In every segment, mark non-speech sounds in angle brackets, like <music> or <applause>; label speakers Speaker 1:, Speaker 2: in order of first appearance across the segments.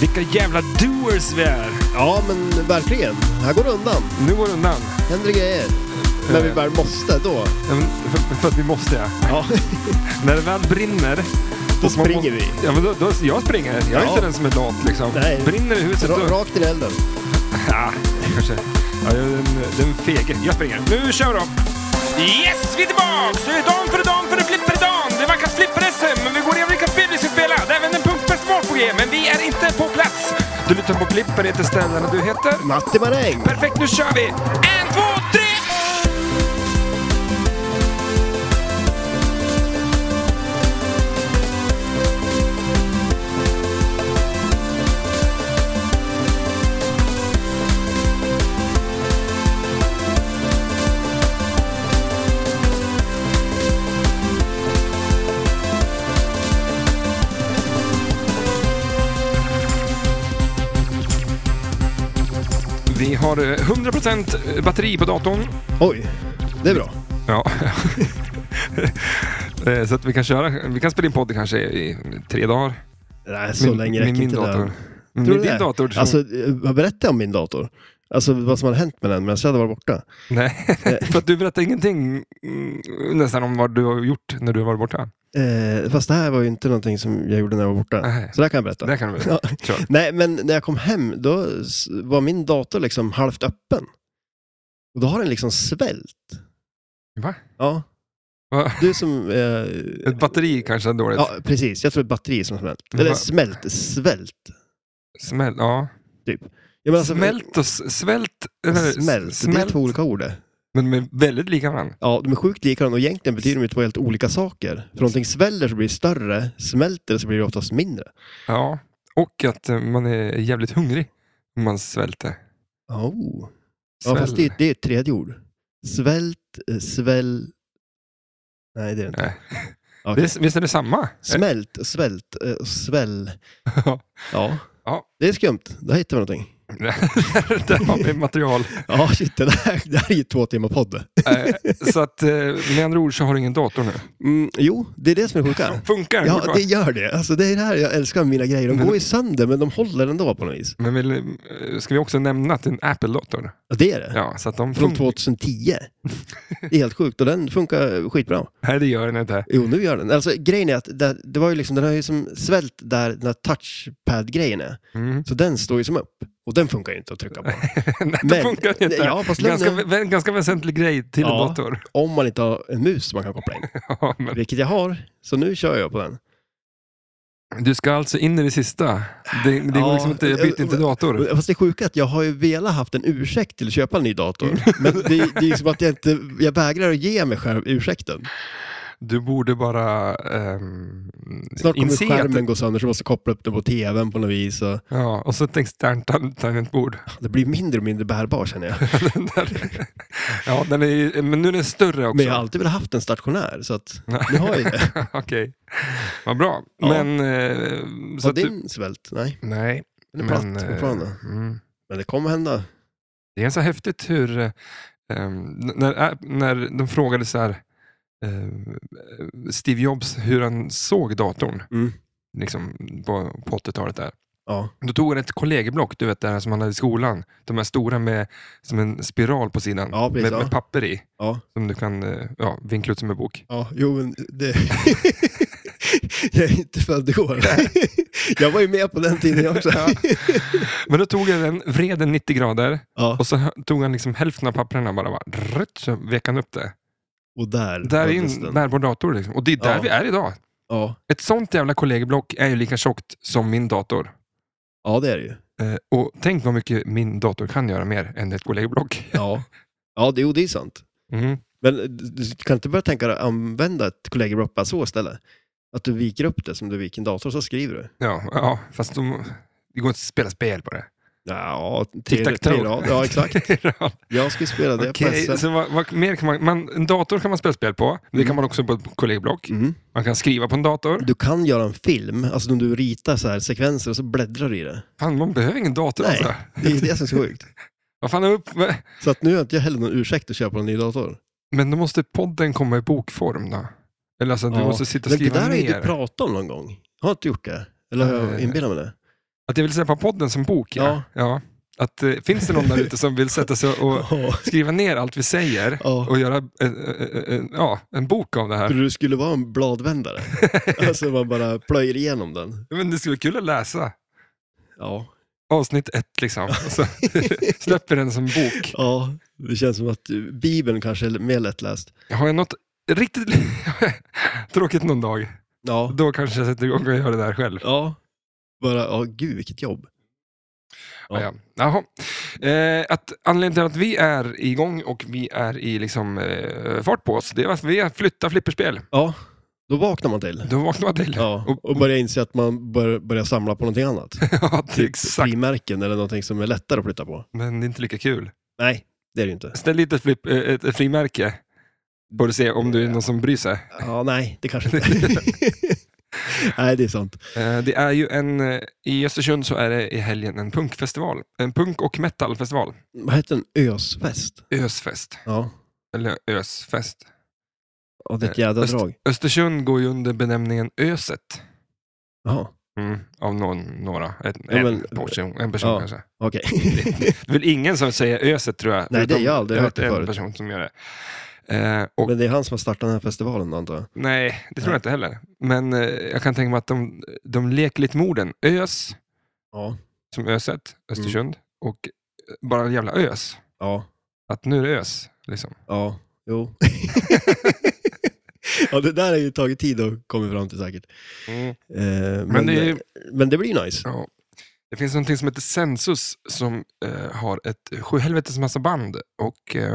Speaker 1: Vilka jävla doers vi är!
Speaker 2: Ja, men verkligen. Här går det undan.
Speaker 1: Nu går det undan.
Speaker 2: Händer grejer. När vi väl måste, då.
Speaker 1: Ja, men För, för att vi måste ja.
Speaker 2: Ja,
Speaker 1: När det väl brinner.
Speaker 2: då
Speaker 1: och man
Speaker 2: springer
Speaker 1: må-
Speaker 2: vi.
Speaker 1: Ja, men då, då, jag springer. Jag är
Speaker 2: Ja.
Speaker 1: inte den som är lat liksom.
Speaker 2: Nej.
Speaker 1: Brinner i huset
Speaker 2: Ra-
Speaker 1: då...
Speaker 2: Rakt in i elden.
Speaker 1: Ja, kanske. Ja, jag är den, den fege. Jag springer. Nu kör vi då! Yes, vi är tillbaks! Det är dan för dan för det flipper dan. Det vankas flipper-SM, men vi går igenom vilka spel vi ska spela. Det är även en punkfestival på G, men vi är inte på plats. Du lyssnar på Flipper, heter ställen och du heter?
Speaker 2: Matti Maräng!
Speaker 1: Perfekt, nu kör vi! En, två, tre! Vi har eh, 100% batteri på datorn.
Speaker 2: Oj, det är bra.
Speaker 1: Ja. <laughs> Eh, Så att vi kan köra, vi kan spela in podd kanske i tre dagar.
Speaker 2: Nej, så länge räcker
Speaker 1: min
Speaker 2: inte det.
Speaker 1: dator.
Speaker 2: här.
Speaker 1: Med
Speaker 2: Tror du
Speaker 1: min
Speaker 2: det?
Speaker 1: dator. som-
Speaker 2: Alltså, eh, vad berättade jag om min dator? Alltså vad som hade hänt med den medan jag hade varit borta?
Speaker 1: Nej,
Speaker 2: <laughs>
Speaker 1: för att du berättar ingenting mm, nästan om vad du har gjort när du har varit borta.
Speaker 2: Eh, fast det här var ju inte någonting som jag gjorde när jag var borta.
Speaker 1: Nej.
Speaker 2: Så det här kan jag berätta.
Speaker 1: Det kan du
Speaker 2: Ja.
Speaker 1: väl. Kör.
Speaker 2: Nej, men när jag kom hem då s- var min dator liksom halvt öppen. Och då har den liksom svällt.
Speaker 1: Va?
Speaker 2: Ja.
Speaker 1: Va?
Speaker 2: Du som...
Speaker 1: <laughs>
Speaker 2: Eh,
Speaker 1: Ett batteri kanske är dåligt.
Speaker 2: ja, precis. Jag tror det är batteri som har smält.
Speaker 1: Va?
Speaker 2: Eller smält, svält.
Speaker 1: Smält, ja.
Speaker 2: Jag menar, alltså-
Speaker 1: Smält och s- svält. eller s-
Speaker 2: Smält. Det är två olika ord det.
Speaker 1: Men de är väldigt lika varandra.
Speaker 2: Ja, de är sjukt lika varandra och egentligen betyder de ju två helt olika saker. För någonting sväller så blir det större, smälter så blir det oftast mindre.
Speaker 1: Ja. Och att eh, man är jävligt hungrig om man svälter.
Speaker 2: Oh. Ja, fast det, det är ett tredje ord. Svält, eh, sväll... Nej, det är det inte.
Speaker 1: Nej.
Speaker 2: <laughs> Okej.
Speaker 1: Det är- Visst är det samma?
Speaker 2: Smält, svält, eh,
Speaker 1: <laughs>
Speaker 2: och sväll.
Speaker 1: Ja.
Speaker 2: Ja.
Speaker 1: Ja.
Speaker 2: Det är skumt. Där hittar vi någonting.
Speaker 1: <laughs> Där har vi
Speaker 2: <laughs>
Speaker 1: material.
Speaker 2: Ja, shit. Det här, det här är ju två timmar podd.
Speaker 1: Eh, Så att eh, med andra ord så har du ingen dator nu.
Speaker 2: Mm, jo, det är det som är
Speaker 1: <laughs>
Speaker 2: sjuka.
Speaker 1: Funkar den
Speaker 2: Ja, det
Speaker 1: fortfarande?
Speaker 2: gör det. Alltså, det är det här jag älskar med mina grejer. De
Speaker 1: Men-
Speaker 2: går ju sönder, men de håller ändå på något vis.
Speaker 1: Men vill, eh, ska vi också nämna att det är en Apple-dator?
Speaker 2: Ja, det är det.
Speaker 1: Ja, så att de
Speaker 2: Från
Speaker 1: funkar.
Speaker 2: 2010. Det är helt sjukt och den funkar skitbra.
Speaker 1: Nej, det gör den inte.
Speaker 2: Jo, nu gör den. Alltså, grejen är att det, det var ju liksom, den har ju som svält där den här touchpad-grejen är.
Speaker 1: Mm. <laughs>
Speaker 2: Så den står ju som upp. Och den funkar ju inte att trycka på.
Speaker 1: Nej, det
Speaker 2: Men-
Speaker 1: funkar inte.
Speaker 2: Ja, fast lämna-
Speaker 1: ganska, vä- ganska väsentlig grej till
Speaker 2: Ja.
Speaker 1: en dator. <laughs>
Speaker 2: Om man inte har en mus som man kan koppla in.
Speaker 1: Ja, men
Speaker 2: Vilket jag har, så nu kör jag på den.
Speaker 1: du ska alltså in i det sista. Det, det går
Speaker 2: Ja. eh,
Speaker 1: liksom inte, jag byter inte dator.
Speaker 2: Fast det sjuka är att jag har ju velat haft en ursäkt till att köpa en ny dator. Men det, det är ju som att jag inte, jag vägrar att ge mig själv ursäkten.
Speaker 1: Du borde bara ehm,
Speaker 2: Snart kommer
Speaker 1: inse att...
Speaker 2: skärmen gå sönder så jag måste koppla upp den på tvn på något vis. Och
Speaker 1: Ja, och så ett externt tan- tangentbord.
Speaker 2: det blir mindre och mindre bärbar känner
Speaker 1: <laughs>
Speaker 2: jag.
Speaker 1: Den där- ja, den är, ju- men nu är den större också.
Speaker 2: Men jag har alltid velat haft en stationär,
Speaker 1: <laughs>
Speaker 2: så att nu har jag ju det.
Speaker 1: Okej, vad bra.
Speaker 2: Ja.
Speaker 1: Men... Eh, så
Speaker 2: Har
Speaker 1: att du,
Speaker 2: din svält? Nej,
Speaker 1: nej.
Speaker 2: den är
Speaker 1: men,
Speaker 2: platt
Speaker 1: eh,
Speaker 2: fortfarande.
Speaker 1: mm.
Speaker 2: Men det kommer hända.
Speaker 1: Det är ganska häftigt hur, eh, ehm, n- när, App- när de frågade så här, eh, Steve Jobs hur han såg datorn
Speaker 2: Mm.
Speaker 1: liksom, på, på 80-talet. Där.
Speaker 2: Ja.
Speaker 1: Då tog han ett kollegieblock, du vet det här som han hade i skolan. De här stora med som en spiral på sidan
Speaker 2: Ja, precis,
Speaker 1: med,
Speaker 2: ja.
Speaker 1: med papper i.
Speaker 2: Ja.
Speaker 1: Som du kan eh, ja, vinkla ut som en bok.
Speaker 2: ja, jo men det... <laughs> jag är inte
Speaker 1: <laughs>
Speaker 2: född igår. jag var ju med på den tiden jag också.
Speaker 1: Ja. Men då tog han den, vred den 90 grader
Speaker 2: Ja,
Speaker 1: och så hö- tog han liksom hälften av papperna bara, bara rutt, så vek han upp det.
Speaker 2: och där.
Speaker 1: Där
Speaker 2: var
Speaker 1: in,
Speaker 2: bristen.
Speaker 1: bärbar dator liksom. Och det är där
Speaker 2: Ja.
Speaker 1: vi är idag.
Speaker 2: Ja.
Speaker 1: Ett sånt jävla kollegieblock är ju lika tjockt som min dator.
Speaker 2: ja, det är det ju.
Speaker 1: Eh, och tänk vad mycket min dator kan göra mer än ett kollegieblock.
Speaker 2: Ja, ja det, jo, det är sant.
Speaker 1: Mm.
Speaker 2: Men du- du kan inte börja tänka dig att använda ett kollegieblock bara så istället? Att du viker upp det som du viker en dator, så skriver du.
Speaker 1: Ja, ja, fast de, det går inte att spela spel på det. <laughs>
Speaker 2: Ja, tre,
Speaker 1: Tic-tac-toe.
Speaker 2: tre rad. Ja, exakt. Jag ska spela det
Speaker 1: Okej,
Speaker 2: på SM.
Speaker 1: så vad, vad mer kan man, man, en dator kan man spela spel på. Det kan
Speaker 2: Mm.
Speaker 1: man också på ett kollegieblock.
Speaker 2: Mm.
Speaker 1: Man kan skriva på en dator.
Speaker 2: Du kan göra en film, alltså om du ritar så här sekvenser och så bläddrar du i det.
Speaker 1: Fan, man behöver ingen dator
Speaker 2: Nej.
Speaker 1: alltså.
Speaker 2: Det är det som är så sjukt.
Speaker 1: Vad fan är upp? med-
Speaker 2: Så att nu har inte jag heller någon ursäkt att köpa en ny dator.
Speaker 1: Men då måste podden komma i bokform då. Eller alltså, du
Speaker 2: Ja.
Speaker 1: måste sitta och
Speaker 2: Men det
Speaker 1: skriva
Speaker 2: där har ju du
Speaker 1: ner.
Speaker 2: pratat om någon gång. Har inte gjort det? Eller har jag
Speaker 1: Nej.
Speaker 2: inbillat mig det?
Speaker 1: Att jag vill släppa podden som bok, ja. ja.
Speaker 2: Ja.
Speaker 1: Att, eh, finns det någon där ute som vill sätta
Speaker 2: <laughs>
Speaker 1: sig och skriva ner allt vi säger
Speaker 2: Ja.
Speaker 1: och göra eh, eh, eh, ja, en bok av det här?
Speaker 2: Tror du det skulle vara
Speaker 1: <laughs>
Speaker 2: en bladvändare? alltså man bara plöjer igenom den.
Speaker 1: Men det skulle vara kul att läsa
Speaker 2: Ja.
Speaker 1: avsnitt ett, liksom. Och
Speaker 2: <laughs>
Speaker 1: så <laughs> släpper den som bok.
Speaker 2: ja, det känns som att eh, Bibeln kanske är mer lättläst.
Speaker 1: Har jag något riktigt <laughs> tråkigt någon dag,
Speaker 2: Ja.
Speaker 1: då kanske jag sätter igång och gör det där själv.
Speaker 2: ja. Bara, ja gud vilket jobb.
Speaker 1: Ja.
Speaker 2: Ja.
Speaker 1: Ja. Jaha. Eh, att anledningen till att vi är igång och vi är i liksom, eh, fart på oss, det är att vi har flyttat flipperspel.
Speaker 2: Ja, då vaknar man till.
Speaker 1: Då vaknar man till.
Speaker 2: Ja,
Speaker 1: Och-
Speaker 2: och börjar inse att man bör, börjar samla på någonting annat.
Speaker 1: <laughs> Ja, det är
Speaker 2: Typ
Speaker 1: exakt.
Speaker 2: frimärken eller någonting som är lättare att flytta på.
Speaker 1: Men det är inte lika kul.
Speaker 2: Nej, det är det ju inte.
Speaker 1: Ställ dit ett, flipp, eh, ett, ett frimärke. Borde se om du är någon som bryr sig.
Speaker 2: Ja, nej, det kanske inte
Speaker 1: <laughs>
Speaker 2: Nej, det är sant.
Speaker 1: Eh, det är ju en, eh, I Östersund så är det i helgen en punkfestival. En punk och metalfestival.
Speaker 2: Vad heter den? Ösfest?
Speaker 1: Ösfest.
Speaker 2: Ja,
Speaker 1: Eller ösfest.
Speaker 2: ja det är ett jädra
Speaker 1: Öst-
Speaker 2: drag.
Speaker 1: Östersund går ju under benämningen Öset.
Speaker 2: Jaha,
Speaker 1: Mm, av någon, några. En,
Speaker 2: Ja, men-
Speaker 1: en person, en person
Speaker 2: Ja.
Speaker 1: kanske. <laughs>
Speaker 2: okej.
Speaker 1: Det är väl ingen som säger öset tror jag.
Speaker 2: Nej, det har jag aldrig
Speaker 1: jag
Speaker 2: hört det
Speaker 1: en
Speaker 2: förut.
Speaker 1: person som gör det. Eh, och,
Speaker 2: Men det är han som har startat den här festivalen antar jag.
Speaker 1: nej, det tror
Speaker 2: Nej.
Speaker 1: jag inte heller. Men eh, jag kan tänka mig att de, de leker lite med orden. Ös,
Speaker 2: Ja.
Speaker 1: som öset, Östersund.
Speaker 2: Mm.
Speaker 1: Och eh, bara en jävla ös.
Speaker 2: Ja,
Speaker 1: Att nu är det ös. Liksom.
Speaker 2: ja,
Speaker 1: <laughs>
Speaker 2: jo. ja, det där har ju tagit tid att komma fram till säkert. Eh, men,
Speaker 1: Mm. Men,
Speaker 2: men,
Speaker 1: det,
Speaker 2: det...
Speaker 1: är,
Speaker 2: blir ju nice.
Speaker 1: ja, det finns någonting som heter Sensus som eh, har ett sjuhelvetes massa band. Och eh,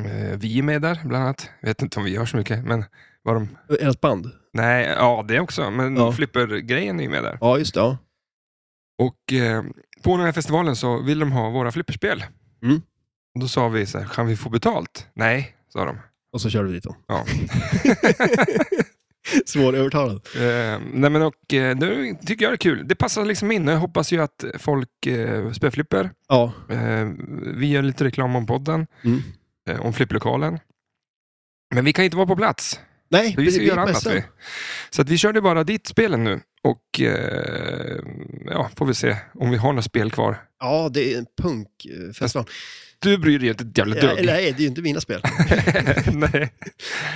Speaker 1: eh, vi är med där bland annat. Jag vet inte om vi gör så mycket, men vad de
Speaker 2: Ert band?
Speaker 1: Nej, ja det också. Men
Speaker 2: Ja.
Speaker 1: flippergrejen är ju med där.
Speaker 2: Ja, just det. Ja.
Speaker 1: Och eh, på den här festivalen så ville de ha våra flipperspel.
Speaker 2: Mm.
Speaker 1: Och då sa vi så här, kan vi få betalt? Nej, sa <laughs> de.
Speaker 2: Och så kör vi dit dem.
Speaker 1: Ja.
Speaker 2: Svårövertalad.
Speaker 1: Eh, nej men och eh, nu tycker jag det är kul. Det passar liksom in. Jag hoppas ju att folk eh, spelar flipper.
Speaker 2: Ja.
Speaker 1: Eh, vi gör lite reklam om podden,
Speaker 2: Mm.
Speaker 1: eh, om flipplokalen. Men vi kan inte vara på plats.
Speaker 2: Nej,
Speaker 1: Vi ska
Speaker 2: är
Speaker 1: göra
Speaker 2: på
Speaker 1: annat
Speaker 2: SM.
Speaker 1: vi. Så att vi körde bara dit spelen nu. Och eh, ja, får vi se om vi har några spel kvar.
Speaker 2: Ja, det är en punkfestival.
Speaker 1: Du bryr dig inte ett jävla
Speaker 2: Ja,
Speaker 1: dugg.
Speaker 2: nej, det är ju inte mina spel.
Speaker 1: <laughs> Nej.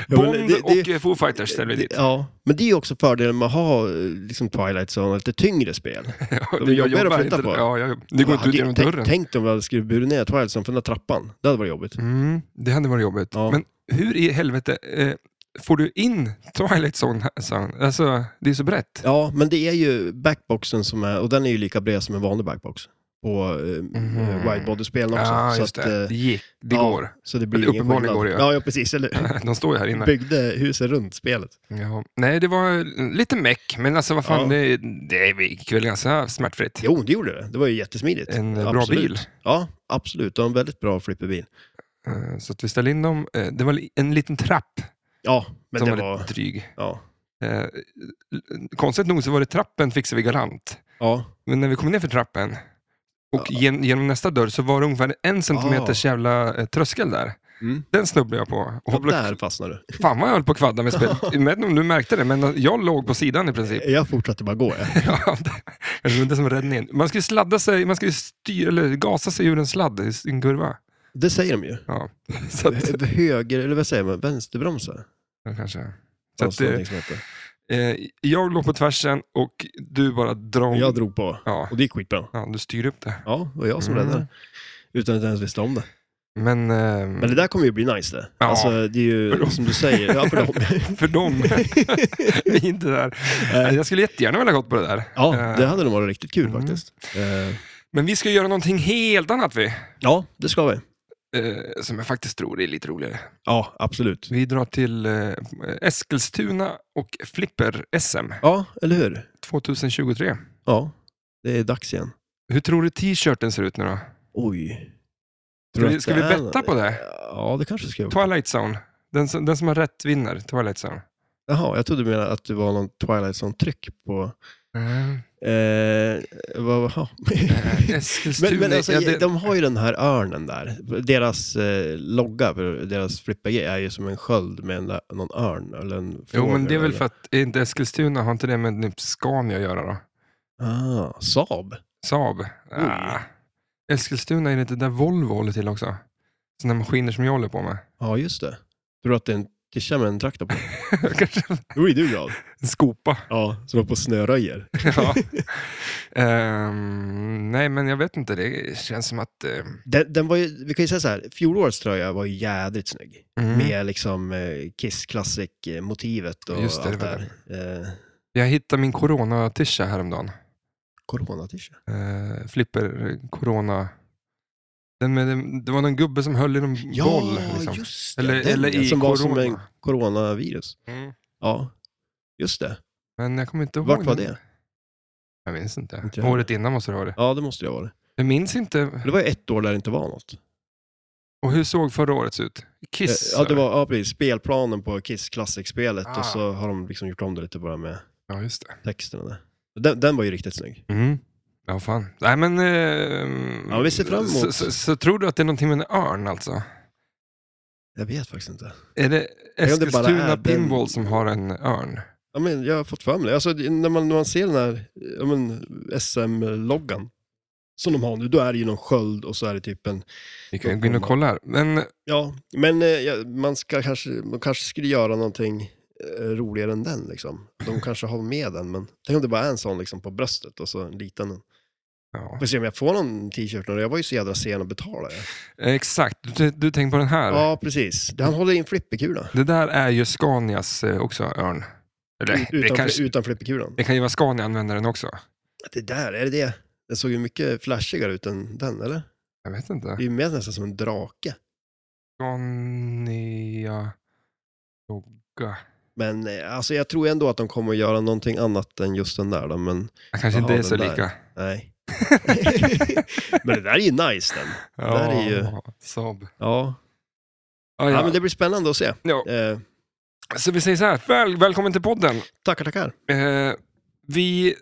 Speaker 2: men
Speaker 1: Bond
Speaker 2: det- det-
Speaker 1: och eh, Foo Fighters ställer vi dit.
Speaker 2: Ja, men det är ju också fördelen med att ha eh, liksom Twilight Zone, lite tyngre spel.
Speaker 1: Ja,
Speaker 2: de jobbar att
Speaker 1: inte-
Speaker 2: flytta på.
Speaker 1: Ja, jag, det går inte ut genom
Speaker 2: tänk,
Speaker 1: dörren.
Speaker 2: tänk om jag skulle burit ner Twilight Zone från den där trappan. Det hade varit jobbigt.
Speaker 1: Mm, det hade varit jobbigt.
Speaker 2: Ja.
Speaker 1: Men hur i helvete eh, får du in Twilight Zone? här, sa han? Alltså, det är så brett.
Speaker 2: Ja, men det är ju backboxen som är, och den är ju lika bred som en vanlig backbox. På eh, widebody-spelen också.
Speaker 1: Ja,
Speaker 2: så,
Speaker 1: Mhm. Ah, just
Speaker 2: att,
Speaker 1: det.
Speaker 2: eh,
Speaker 1: Det gick. Det
Speaker 2: ja,
Speaker 1: går. <laughs>
Speaker 2: så det blir
Speaker 1: Men
Speaker 2: ingen
Speaker 1: uppenbarligen
Speaker 2: skillnad.
Speaker 1: går det ju.
Speaker 2: Ja, ja precis. Eller hur?
Speaker 1: De står ju <laughs> här inne.
Speaker 2: Byggde huset runt spelet.
Speaker 1: Ja. Nej, det var lite meck, men alltså vad fan,
Speaker 2: Ja.
Speaker 1: det, det gick väl ganska smärtfritt.
Speaker 2: Jo, det gjorde det. Det var ju jättesmidigt.
Speaker 1: En eh, bra
Speaker 2: Absolut.
Speaker 1: bil.
Speaker 2: Ja, absolut. Och en väldigt bra flipperbil.
Speaker 1: Eh, Så att vi ställde in dem. Eh, Det var li- en liten trapp
Speaker 2: Ja, men
Speaker 1: som
Speaker 2: det
Speaker 1: var,
Speaker 2: var...
Speaker 1: lite dryg.
Speaker 2: Ja.
Speaker 1: Eh, konstigt nog så var det trappen fixade vi galant.
Speaker 2: ja.
Speaker 1: Men när vi kom ner för trappen och gen, genom nästa dörr så var det ungefär en centimeters jävla eh, tröskel där.
Speaker 2: Mm.
Speaker 1: Den snubblade jag på. Och
Speaker 2: Och
Speaker 1: blev-
Speaker 2: där fastnade du.
Speaker 1: Fan vad jag höll på att kvadda med spel. Jag vet inte om du märkte det, men jag låg på sidan i princip.
Speaker 2: Jag fortsatte bara gå. Jag.
Speaker 1: <laughs> Ja, det- jag tror inte som räddningen. Man ska ju sladda sig, man ska ju styra, eller gasa sig ur en sladd i en kurva.
Speaker 2: Det säger de ju.
Speaker 1: Ja, <laughs> så att,
Speaker 2: Ö- Höger, eller vad säger man? Vänsterbromsar.
Speaker 1: ja, kanske. Så
Speaker 2: Fanns
Speaker 1: att,
Speaker 2: det
Speaker 1: eh,
Speaker 2: någonting som hette.
Speaker 1: eh, jag låg på tvärsen och du bara drog.
Speaker 2: Jag drog på
Speaker 1: Ja,
Speaker 2: och det gick skitbra.
Speaker 1: ja, du styr upp det.
Speaker 2: Ja, det var jag som
Speaker 1: Mm.
Speaker 2: räddade. Utan att jag ens visste om det.
Speaker 1: Men, eh,
Speaker 2: Men det där kommer ju bli nice det.
Speaker 1: Ja.
Speaker 2: Alltså, det är
Speaker 1: För dem.
Speaker 2: ju som du säger.
Speaker 1: <laughs>
Speaker 2: Ja, för dem.
Speaker 1: för dem, vi är inte där.
Speaker 2: Eh,
Speaker 1: Jag skulle jättegärna vilja gått på det där.
Speaker 2: ja,
Speaker 1: Eh,
Speaker 2: det hade nog varit riktigt kul
Speaker 1: Mm.
Speaker 2: faktiskt. Eh,
Speaker 1: Men vi ska göra någonting helt annat vi.
Speaker 2: Ja, det ska vi.
Speaker 1: Eh, som jag faktiskt tror är lite roligare.
Speaker 2: Ja, absolut.
Speaker 1: Vi drar till eh, Eskilstuna och Flipper-SM
Speaker 2: Ja, eller hur?
Speaker 1: 2023.
Speaker 2: Ja, det är dags igen.
Speaker 1: Hur tror du t-shirten ser ut nu då?
Speaker 2: Oj.
Speaker 1: Ska
Speaker 2: Tror du
Speaker 1: vi,
Speaker 2: att
Speaker 1: ska vi
Speaker 2: det är-
Speaker 1: betta på det?
Speaker 2: Ja, det kanske ska jag
Speaker 1: Twilight Zone. Den som, den som har rätt vinner Twilight Zone.
Speaker 2: Jaha, jag trodde du menade att det var någon Twilight Zone-tryck på... Mm. Eh, vad,
Speaker 1: <laughs>
Speaker 2: vad,
Speaker 1: Eh,
Speaker 2: men,
Speaker 1: Eskilstuna.
Speaker 2: men alltså,
Speaker 1: ja, det,
Speaker 2: de har ju den här örnen där. Deras eh, logga, för deras flippergrej, är ju som en sköld med en, någon örn. Eller en
Speaker 1: jo, men
Speaker 2: fågel
Speaker 1: det är väl
Speaker 2: eller-
Speaker 1: för att inte Eskilstuna har inte det med typ Scania att göra då?
Speaker 2: Ah, Saab.
Speaker 1: Saab. Ah. Eskilstuna, är det inte där Volvo håller till också? Sådana maskiner som jag håller på med. <laughs>
Speaker 2: Ja, just det. Tror du att det är en tischa med en traktor på?
Speaker 1: Kanske
Speaker 2: Då är du glad.
Speaker 1: en skopa. <laughs>
Speaker 2: Ja, som var på snöröjer.
Speaker 1: ja. Ehm, nej, men jag vet inte. Det känns som att... eh,
Speaker 2: Den, den var ju, vi kan ju säga så här, fjolårets tröja var ju jädrigt snygg.
Speaker 1: mm.
Speaker 2: Med liksom eh, Kiss Classic-motivet och
Speaker 1: Just det,
Speaker 2: allt
Speaker 1: det
Speaker 2: det
Speaker 1: var
Speaker 2: där. Eh,
Speaker 1: Jag hittade min corona-tisha häromdagen.
Speaker 2: Corona-tischa.
Speaker 1: Eh, flipper corona. Den med, den- det var någon gubbe som höll i någon boll. Liksom.
Speaker 2: just
Speaker 1: Eller- eller i
Speaker 2: som var som
Speaker 1: corona.
Speaker 2: en coronavirus.
Speaker 1: Mm.
Speaker 2: Ja, just det.
Speaker 1: Men jag kommer inte ihåg.
Speaker 2: Vart var
Speaker 1: den.
Speaker 2: det?
Speaker 1: Jag minns inte.
Speaker 2: Inte jag
Speaker 1: Året innan måste det ha varit.
Speaker 2: Ja, det måste det ha varit.
Speaker 1: Jag minns inte.
Speaker 2: Det var ju ett år där det inte var något. Eh,
Speaker 1: Och hur såg förra årets ut? Kiss?
Speaker 2: ja, det
Speaker 1: eller?
Speaker 2: var ja, precis, spelplanen på Kiss Classic-spelet
Speaker 1: Ah.
Speaker 2: och så har de liksom gjort om det lite bara med
Speaker 1: ja just det.
Speaker 2: texterna där. Den, den var ju riktigt snygg.
Speaker 1: Mm. Ja, fan. Nej, men... Eh,
Speaker 2: Ja, vi ser fram emot.
Speaker 1: Så, så, så tror du att det är någonting med en örn alltså?
Speaker 2: Jag vet faktiskt inte.
Speaker 1: Är det
Speaker 2: Eller om det bara
Speaker 1: Eskilstuna
Speaker 2: är den-
Speaker 1: Pinball som har en örn?
Speaker 2: Ja, men jag har fått för mig det. Alltså, det- när, man, när man ser den här ja, men, SM-loggan som de har nu, då är det ju någon sköld och så är det typ en...
Speaker 1: Vi kan ju gå in och kolla här. Men
Speaker 2: Ja, men eh, ja, man, ska kanske, man kanske skulle göra någonting eh, roligare än den. Liksom. De kanske har med den, men tänk om det bara är en sån liksom, på bröstet och så en liten.
Speaker 1: ja.
Speaker 2: Får se om jag får någon t-shirt nu. Jag var ju så jädra sen att betala. Ja,
Speaker 1: exakt, du, du tänker på den här.
Speaker 2: ja precis. Han håller i en flipperkula.
Speaker 1: Det där är ju Scanias eh, också örn. Eller, det,
Speaker 2: Utan,
Speaker 1: kanske,
Speaker 2: utan flipperkulan.
Speaker 1: det kan ju vara Scania använder den också.
Speaker 2: Det där, är det det? Den såg ju mycket flashigare ut än den, eller?
Speaker 1: Jag vet inte.
Speaker 2: Det är ju mer nästan som en drake.
Speaker 1: Scania... Logga.
Speaker 2: Men eh, alltså, jag tror ändå att de kommer att göra någonting annat än just den där. Då, men
Speaker 1: Jag kanske
Speaker 2: Jaha,
Speaker 1: inte är
Speaker 2: den
Speaker 1: så
Speaker 2: där.
Speaker 1: lika.
Speaker 2: nej. <laughs> men det där är ju nice den.
Speaker 1: Ja,
Speaker 2: där är ju-
Speaker 1: Saab.
Speaker 2: Ja.
Speaker 1: Ja,
Speaker 2: Ja,
Speaker 1: ja.
Speaker 2: men det blir spännande att se.
Speaker 1: Ja.
Speaker 2: Eh,
Speaker 1: Så vi säger så här, väl, välkommen till podden.
Speaker 2: tackar, tackar.
Speaker 1: Eh, vi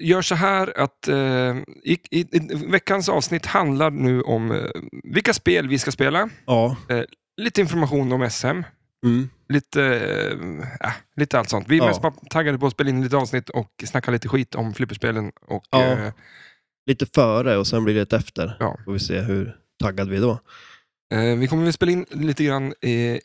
Speaker 1: gör så här att eh, i, i, i, veckans avsnitt handlar nu om eh, vilka spel vi ska spela,
Speaker 2: Ja.
Speaker 1: lite information om SM,
Speaker 2: Mm.
Speaker 1: lite, eh, äh, lite allt sånt. Vi är
Speaker 2: Ja.
Speaker 1: mest bara taggade på att spela in lite avsnitt och snacka lite skit om flipperspelen. Och,
Speaker 2: Ja.
Speaker 1: eh,
Speaker 2: Lite före och sen blir det ett efter.
Speaker 1: Ja.
Speaker 2: Får vi se hur taggad vi är då.
Speaker 1: eh, vi kommer väl spela in lite grann eh,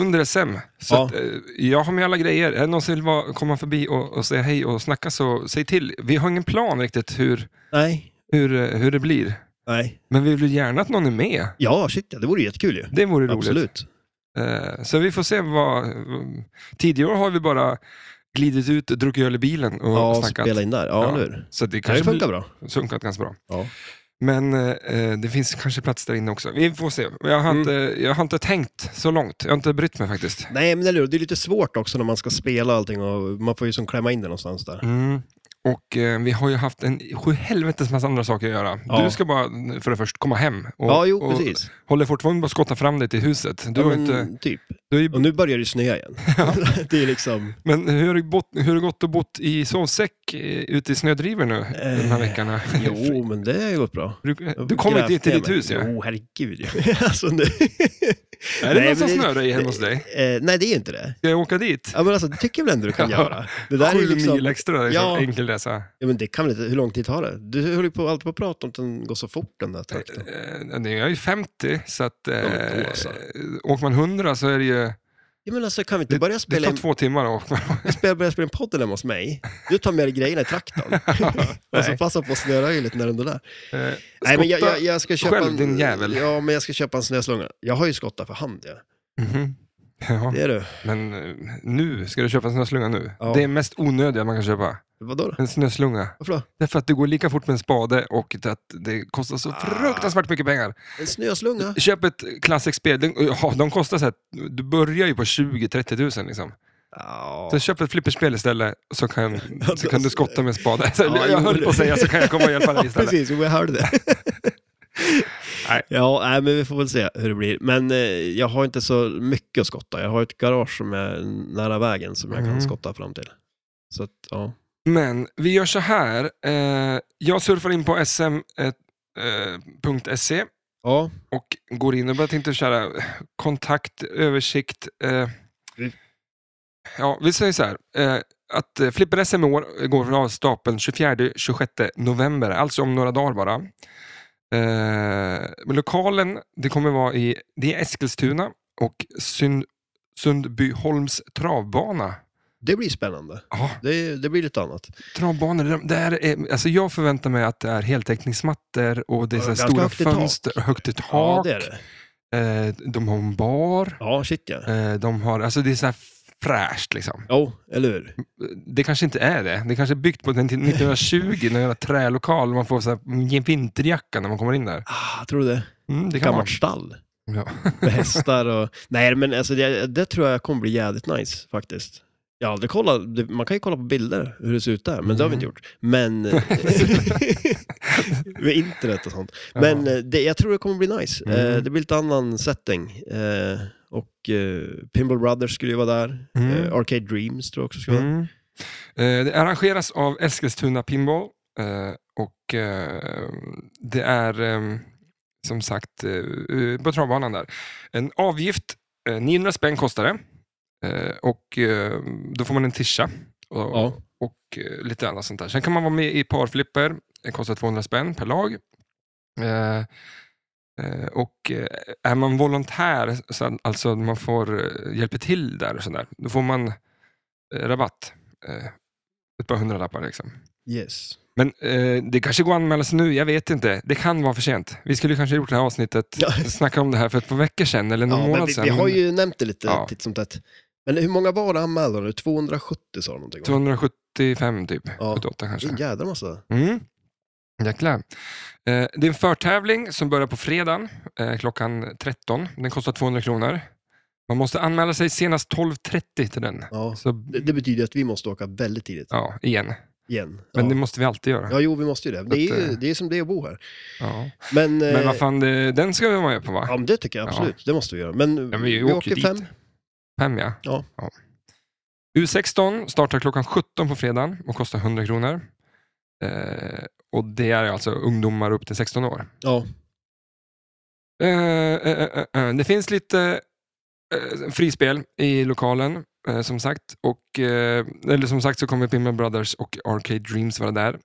Speaker 1: under SM. Så
Speaker 2: Ja.
Speaker 1: att, eh, jag har med alla grejer. Är det någon som vill vara- komma förbi och, och säga hej och snacka så säg till. Vi har ingen plan riktigt hur,
Speaker 2: Nej.
Speaker 1: hur, eh, hur det blir.
Speaker 2: Nej.
Speaker 1: Men vi vill gärna att någon är med.
Speaker 2: Ja, shit ja, det vore jättekul ju.
Speaker 1: Det vore roligt.
Speaker 2: Absolut.
Speaker 1: Eh, så vi får se vad... Tidigare har vi bara glidit ut, druckit öl i bilen och
Speaker 2: Ja, och
Speaker 1: snackat.
Speaker 2: spela in där. Ja,
Speaker 1: Ja.
Speaker 2: ja. nu.
Speaker 1: Så det kanske
Speaker 2: Det
Speaker 1: blir-
Speaker 2: funkar bra.
Speaker 1: funkat ganska bra.
Speaker 2: Ja.
Speaker 1: Men eh, det finns kanske plats där inne också. Vi får se. Jag har,
Speaker 2: Mm.
Speaker 1: inte, jag har inte tänkt så långt. Jag har inte brytt mig faktiskt.
Speaker 2: Nej, men eller hur? Det är lite svårt också när man ska spela allting och man får ju som klämma in det någonstans där.
Speaker 1: Mm. Och eh, vi har ju haft en sjuhelvetes massa andra saker att göra.
Speaker 2: Ja.
Speaker 1: Du ska bara för det först komma hem. Och,
Speaker 2: ja, jo,
Speaker 1: och
Speaker 2: precis.
Speaker 1: håller fortfarande på att skotta fram dig till huset. Du
Speaker 2: ja,
Speaker 1: har
Speaker 2: men,
Speaker 1: inte,
Speaker 2: Typ.
Speaker 1: du är ju,
Speaker 2: Och nu börjar det snöa igen.
Speaker 1: Ja.
Speaker 2: <laughs> det är liksom...
Speaker 1: men hur har, du bott, hur har det gått och bott i sovsäck eh, ute i snödrivor nu den här
Speaker 2: Eh,
Speaker 1: veckan? <laughs>
Speaker 2: Jo, men det har ju gått bra.
Speaker 1: Du, eh, du kommer inte till ditt hus ju.
Speaker 2: ja? Jo, herregud ju. <laughs> alltså, nu...
Speaker 1: Är det
Speaker 2: Nej,
Speaker 1: någon som
Speaker 2: men det-
Speaker 1: snöar hemma hos dig?
Speaker 2: Eh, nej, det är inte det.
Speaker 1: Ska jag åka dit?
Speaker 2: Ja, men alltså, det tycker jag väl ändå du kan
Speaker 1: Ja.
Speaker 2: göra. Det där är
Speaker 1: Sju
Speaker 2: ju
Speaker 1: mil
Speaker 2: liksom,
Speaker 1: extra, liksom,
Speaker 2: Ja.
Speaker 1: enkel resa.
Speaker 2: ja, men det kan väl inte, hur lång tid tar det? Du håller ju på, alltid på att prata om att den går så fort den där traktorn.
Speaker 1: Eh, nu är jag ju 50, så att, eh,
Speaker 2: Ja, men då alltså.
Speaker 1: åker man 100 så är det ju...
Speaker 2: Ja, men alltså, kan vi inte börja
Speaker 1: Det
Speaker 2: spela,
Speaker 1: tar
Speaker 2: in,
Speaker 1: två timmar att åka.
Speaker 2: spela, börja spela en podd hemma hos mig? Du tar med dig grejerna
Speaker 1: <laughs>
Speaker 2: i traktorn. och så
Speaker 1: Nej.
Speaker 2: passa på att snöra ju lite när den är där.
Speaker 1: Eh,
Speaker 2: <laughs> Nej, men jag,
Speaker 1: skotta-
Speaker 2: jag, jag ska köpa
Speaker 1: själv,
Speaker 2: en,
Speaker 1: din jävel.
Speaker 2: Ja, men jag ska köpa en snöslunga. Jag har ju skottat för hand, ja.
Speaker 1: Mhm. Ja,
Speaker 2: Det är du.
Speaker 1: men eh, nu, ska du köpa en snöslunga nu?
Speaker 2: Ja.
Speaker 1: Det är mest onödiga man kan köpa.
Speaker 2: Vadå då?
Speaker 1: En snöslunga.
Speaker 2: Varför då?
Speaker 1: Därför att det går lika fort med en spade och att det kostar så
Speaker 2: Ah.
Speaker 1: fruktansvärt mycket pengar.
Speaker 2: En snöslunga?
Speaker 1: Köp ett klassiskt spel, Den- ja, de kostar så här, du börjar ju på 20-30 tusen liksom.
Speaker 2: Ja. alltså,
Speaker 1: Så köp ett flipperspel istället så
Speaker 2: <laughs>
Speaker 1: kan, så kan du skotta med en spade. Så
Speaker 2: Ja,
Speaker 1: jag
Speaker 2: jo,
Speaker 1: höll på att
Speaker 2: det-
Speaker 1: säga så kan jag komma och hjälpa
Speaker 2: <laughs>
Speaker 1: dig
Speaker 2: Ja,
Speaker 1: istället.
Speaker 2: precis. Jo, jag hörde det.
Speaker 1: <laughs> Nej.
Speaker 2: Ja, nej, men vi får väl se hur det blir. Men eh, jag har inte så mycket att skotta. Jag har ett garage som är nära vägen som jag
Speaker 1: Mm.
Speaker 2: kan skotta fram till. Så att, ja.
Speaker 1: Men vi gör så här. Eh, jag surfar in på eh, sm.se
Speaker 2: Ja,
Speaker 1: och går in och bara tänkte köra kontakt, översikt. Eh,
Speaker 2: Mm.
Speaker 1: ja, vi säger så här. Eh, att eh, Flipper-SM i år går av stapeln 24-26 november, alltså om några dagar bara. Eh, men lokalen, det kommer vara i det är Eskilstuna och Sund, Sundbyholms travbana.
Speaker 2: Det blir spännande.
Speaker 1: Ja,
Speaker 2: Det, det blir lite annat.
Speaker 1: travbanor. de- Där är, alltså jag förväntar mig att det är heltäckningsmattor och det är
Speaker 2: Ja,
Speaker 1: så här
Speaker 2: ganska
Speaker 1: stora
Speaker 2: högt i tak.
Speaker 1: fönster, högt i tak.
Speaker 2: Ja, det är det.
Speaker 1: Eh, de har en bar.
Speaker 2: Ja, shit ja.
Speaker 1: Eh, de har, alltså det är så här fräscht liksom.
Speaker 2: Jo, eller hur?
Speaker 1: Det kanske inte är det. Det kanske är byggt på 1920, någon jävla trälokal. och Man får så här, mm, en vinterjacka när man kommer in där.
Speaker 2: Ah, tror du det?
Speaker 1: Mm, det kan man.
Speaker 2: Gammalt stall
Speaker 1: Ja.
Speaker 2: med hästar och... Nej, men alltså det, det tror jag kommer bli jävligt nice faktiskt. Jag har aldrig kollat, det- man kan ju kolla på bilder hur det ser ut där, men det har vi
Speaker 1: Mm.
Speaker 2: inte gjort. Men... <laughs> med internet och sånt. Men eh, det, jag tror det kommer bli nice.
Speaker 1: Mm.
Speaker 2: Eh, det blir lite annan setting. Eh, och eh, Pinball Brothers skulle ju vara där.
Speaker 1: Mm.
Speaker 2: Eh, Arcade Dreams tror jag också skulle vara
Speaker 1: Mm. Eh, Det arrangeras av Eskilstuna Pinball eh, och eh, det är eh, som sagt eh, på travbanan där. En avgift, eh, 900 spänn kostar det Eh, och eh, då får man en tischa och,
Speaker 2: Ja.
Speaker 1: och eh, lite annat sånt där. Sen kan man vara med i parflipper, det kostar 200 spänn per lag. Eh, eh, Och eh, är man volontär, så- alltså att man får eh, hjälpa till där och sådär, då får man eh, rabatt. Eh, ett par hundralappar liksom.
Speaker 2: Yes.
Speaker 1: Men eh, det kanske går att anmäla sig nu, jag vet inte. Det kan vara för sent. Vi skulle kanske ha gjort det här avsnittet,
Speaker 2: Ja.
Speaker 1: snacka om det här för ett par veckor sedan eller någon
Speaker 2: <laughs> Ja, men
Speaker 1: månad
Speaker 2: vi,
Speaker 1: sedan.
Speaker 2: vi har ju nämnt det lite
Speaker 1: Ja.
Speaker 2: titt som tätt. Men hur många var det anmälda nu? 270 sa de någonting om.
Speaker 1: 275 typ,
Speaker 2: Ja.
Speaker 1: 78
Speaker 2: Det
Speaker 1: kanske.
Speaker 2: är en jädra massa.
Speaker 1: Mm. Jäklar. Eh, det är en förtävling som börjar på fredagen eh, klockan 13. Den kostar 200 kronor. Man måste anmäla sig senast 12.30 till den.
Speaker 2: Ja.
Speaker 1: Så,
Speaker 2: Det, det betyder att vi måste åka väldigt tidigt
Speaker 1: ja, igen.
Speaker 2: igen.
Speaker 1: Men
Speaker 2: Ja.
Speaker 1: det måste vi alltid göra.
Speaker 2: ja, jo, vi måste ju det. Det
Speaker 1: Så
Speaker 2: är,
Speaker 1: att,
Speaker 2: ju,
Speaker 1: eh,
Speaker 2: det är som det är att bo här.
Speaker 1: Ja.
Speaker 2: Men,
Speaker 1: Men
Speaker 2: eh,
Speaker 1: vad fan, det, den ska vi vara med på va?
Speaker 2: Ja, men det tycker jag absolut. Det måste vi göra. Men,
Speaker 1: Ja, men vi, åker, dit.
Speaker 2: fem.
Speaker 1: Fem ja.
Speaker 2: Ja.
Speaker 1: U16 startar klockan 17 på fredagen och kostar 100 kronor. Eh, och det är alltså ungdomar upp till 16 år.
Speaker 2: Ja,
Speaker 1: Eh, eh, eh, eh. Det finns lite eh, frispel i lokalen, eh, som sagt. Och, eh, eller som sagt så kommer Pinball Brothers och Arcade Dreams vara där.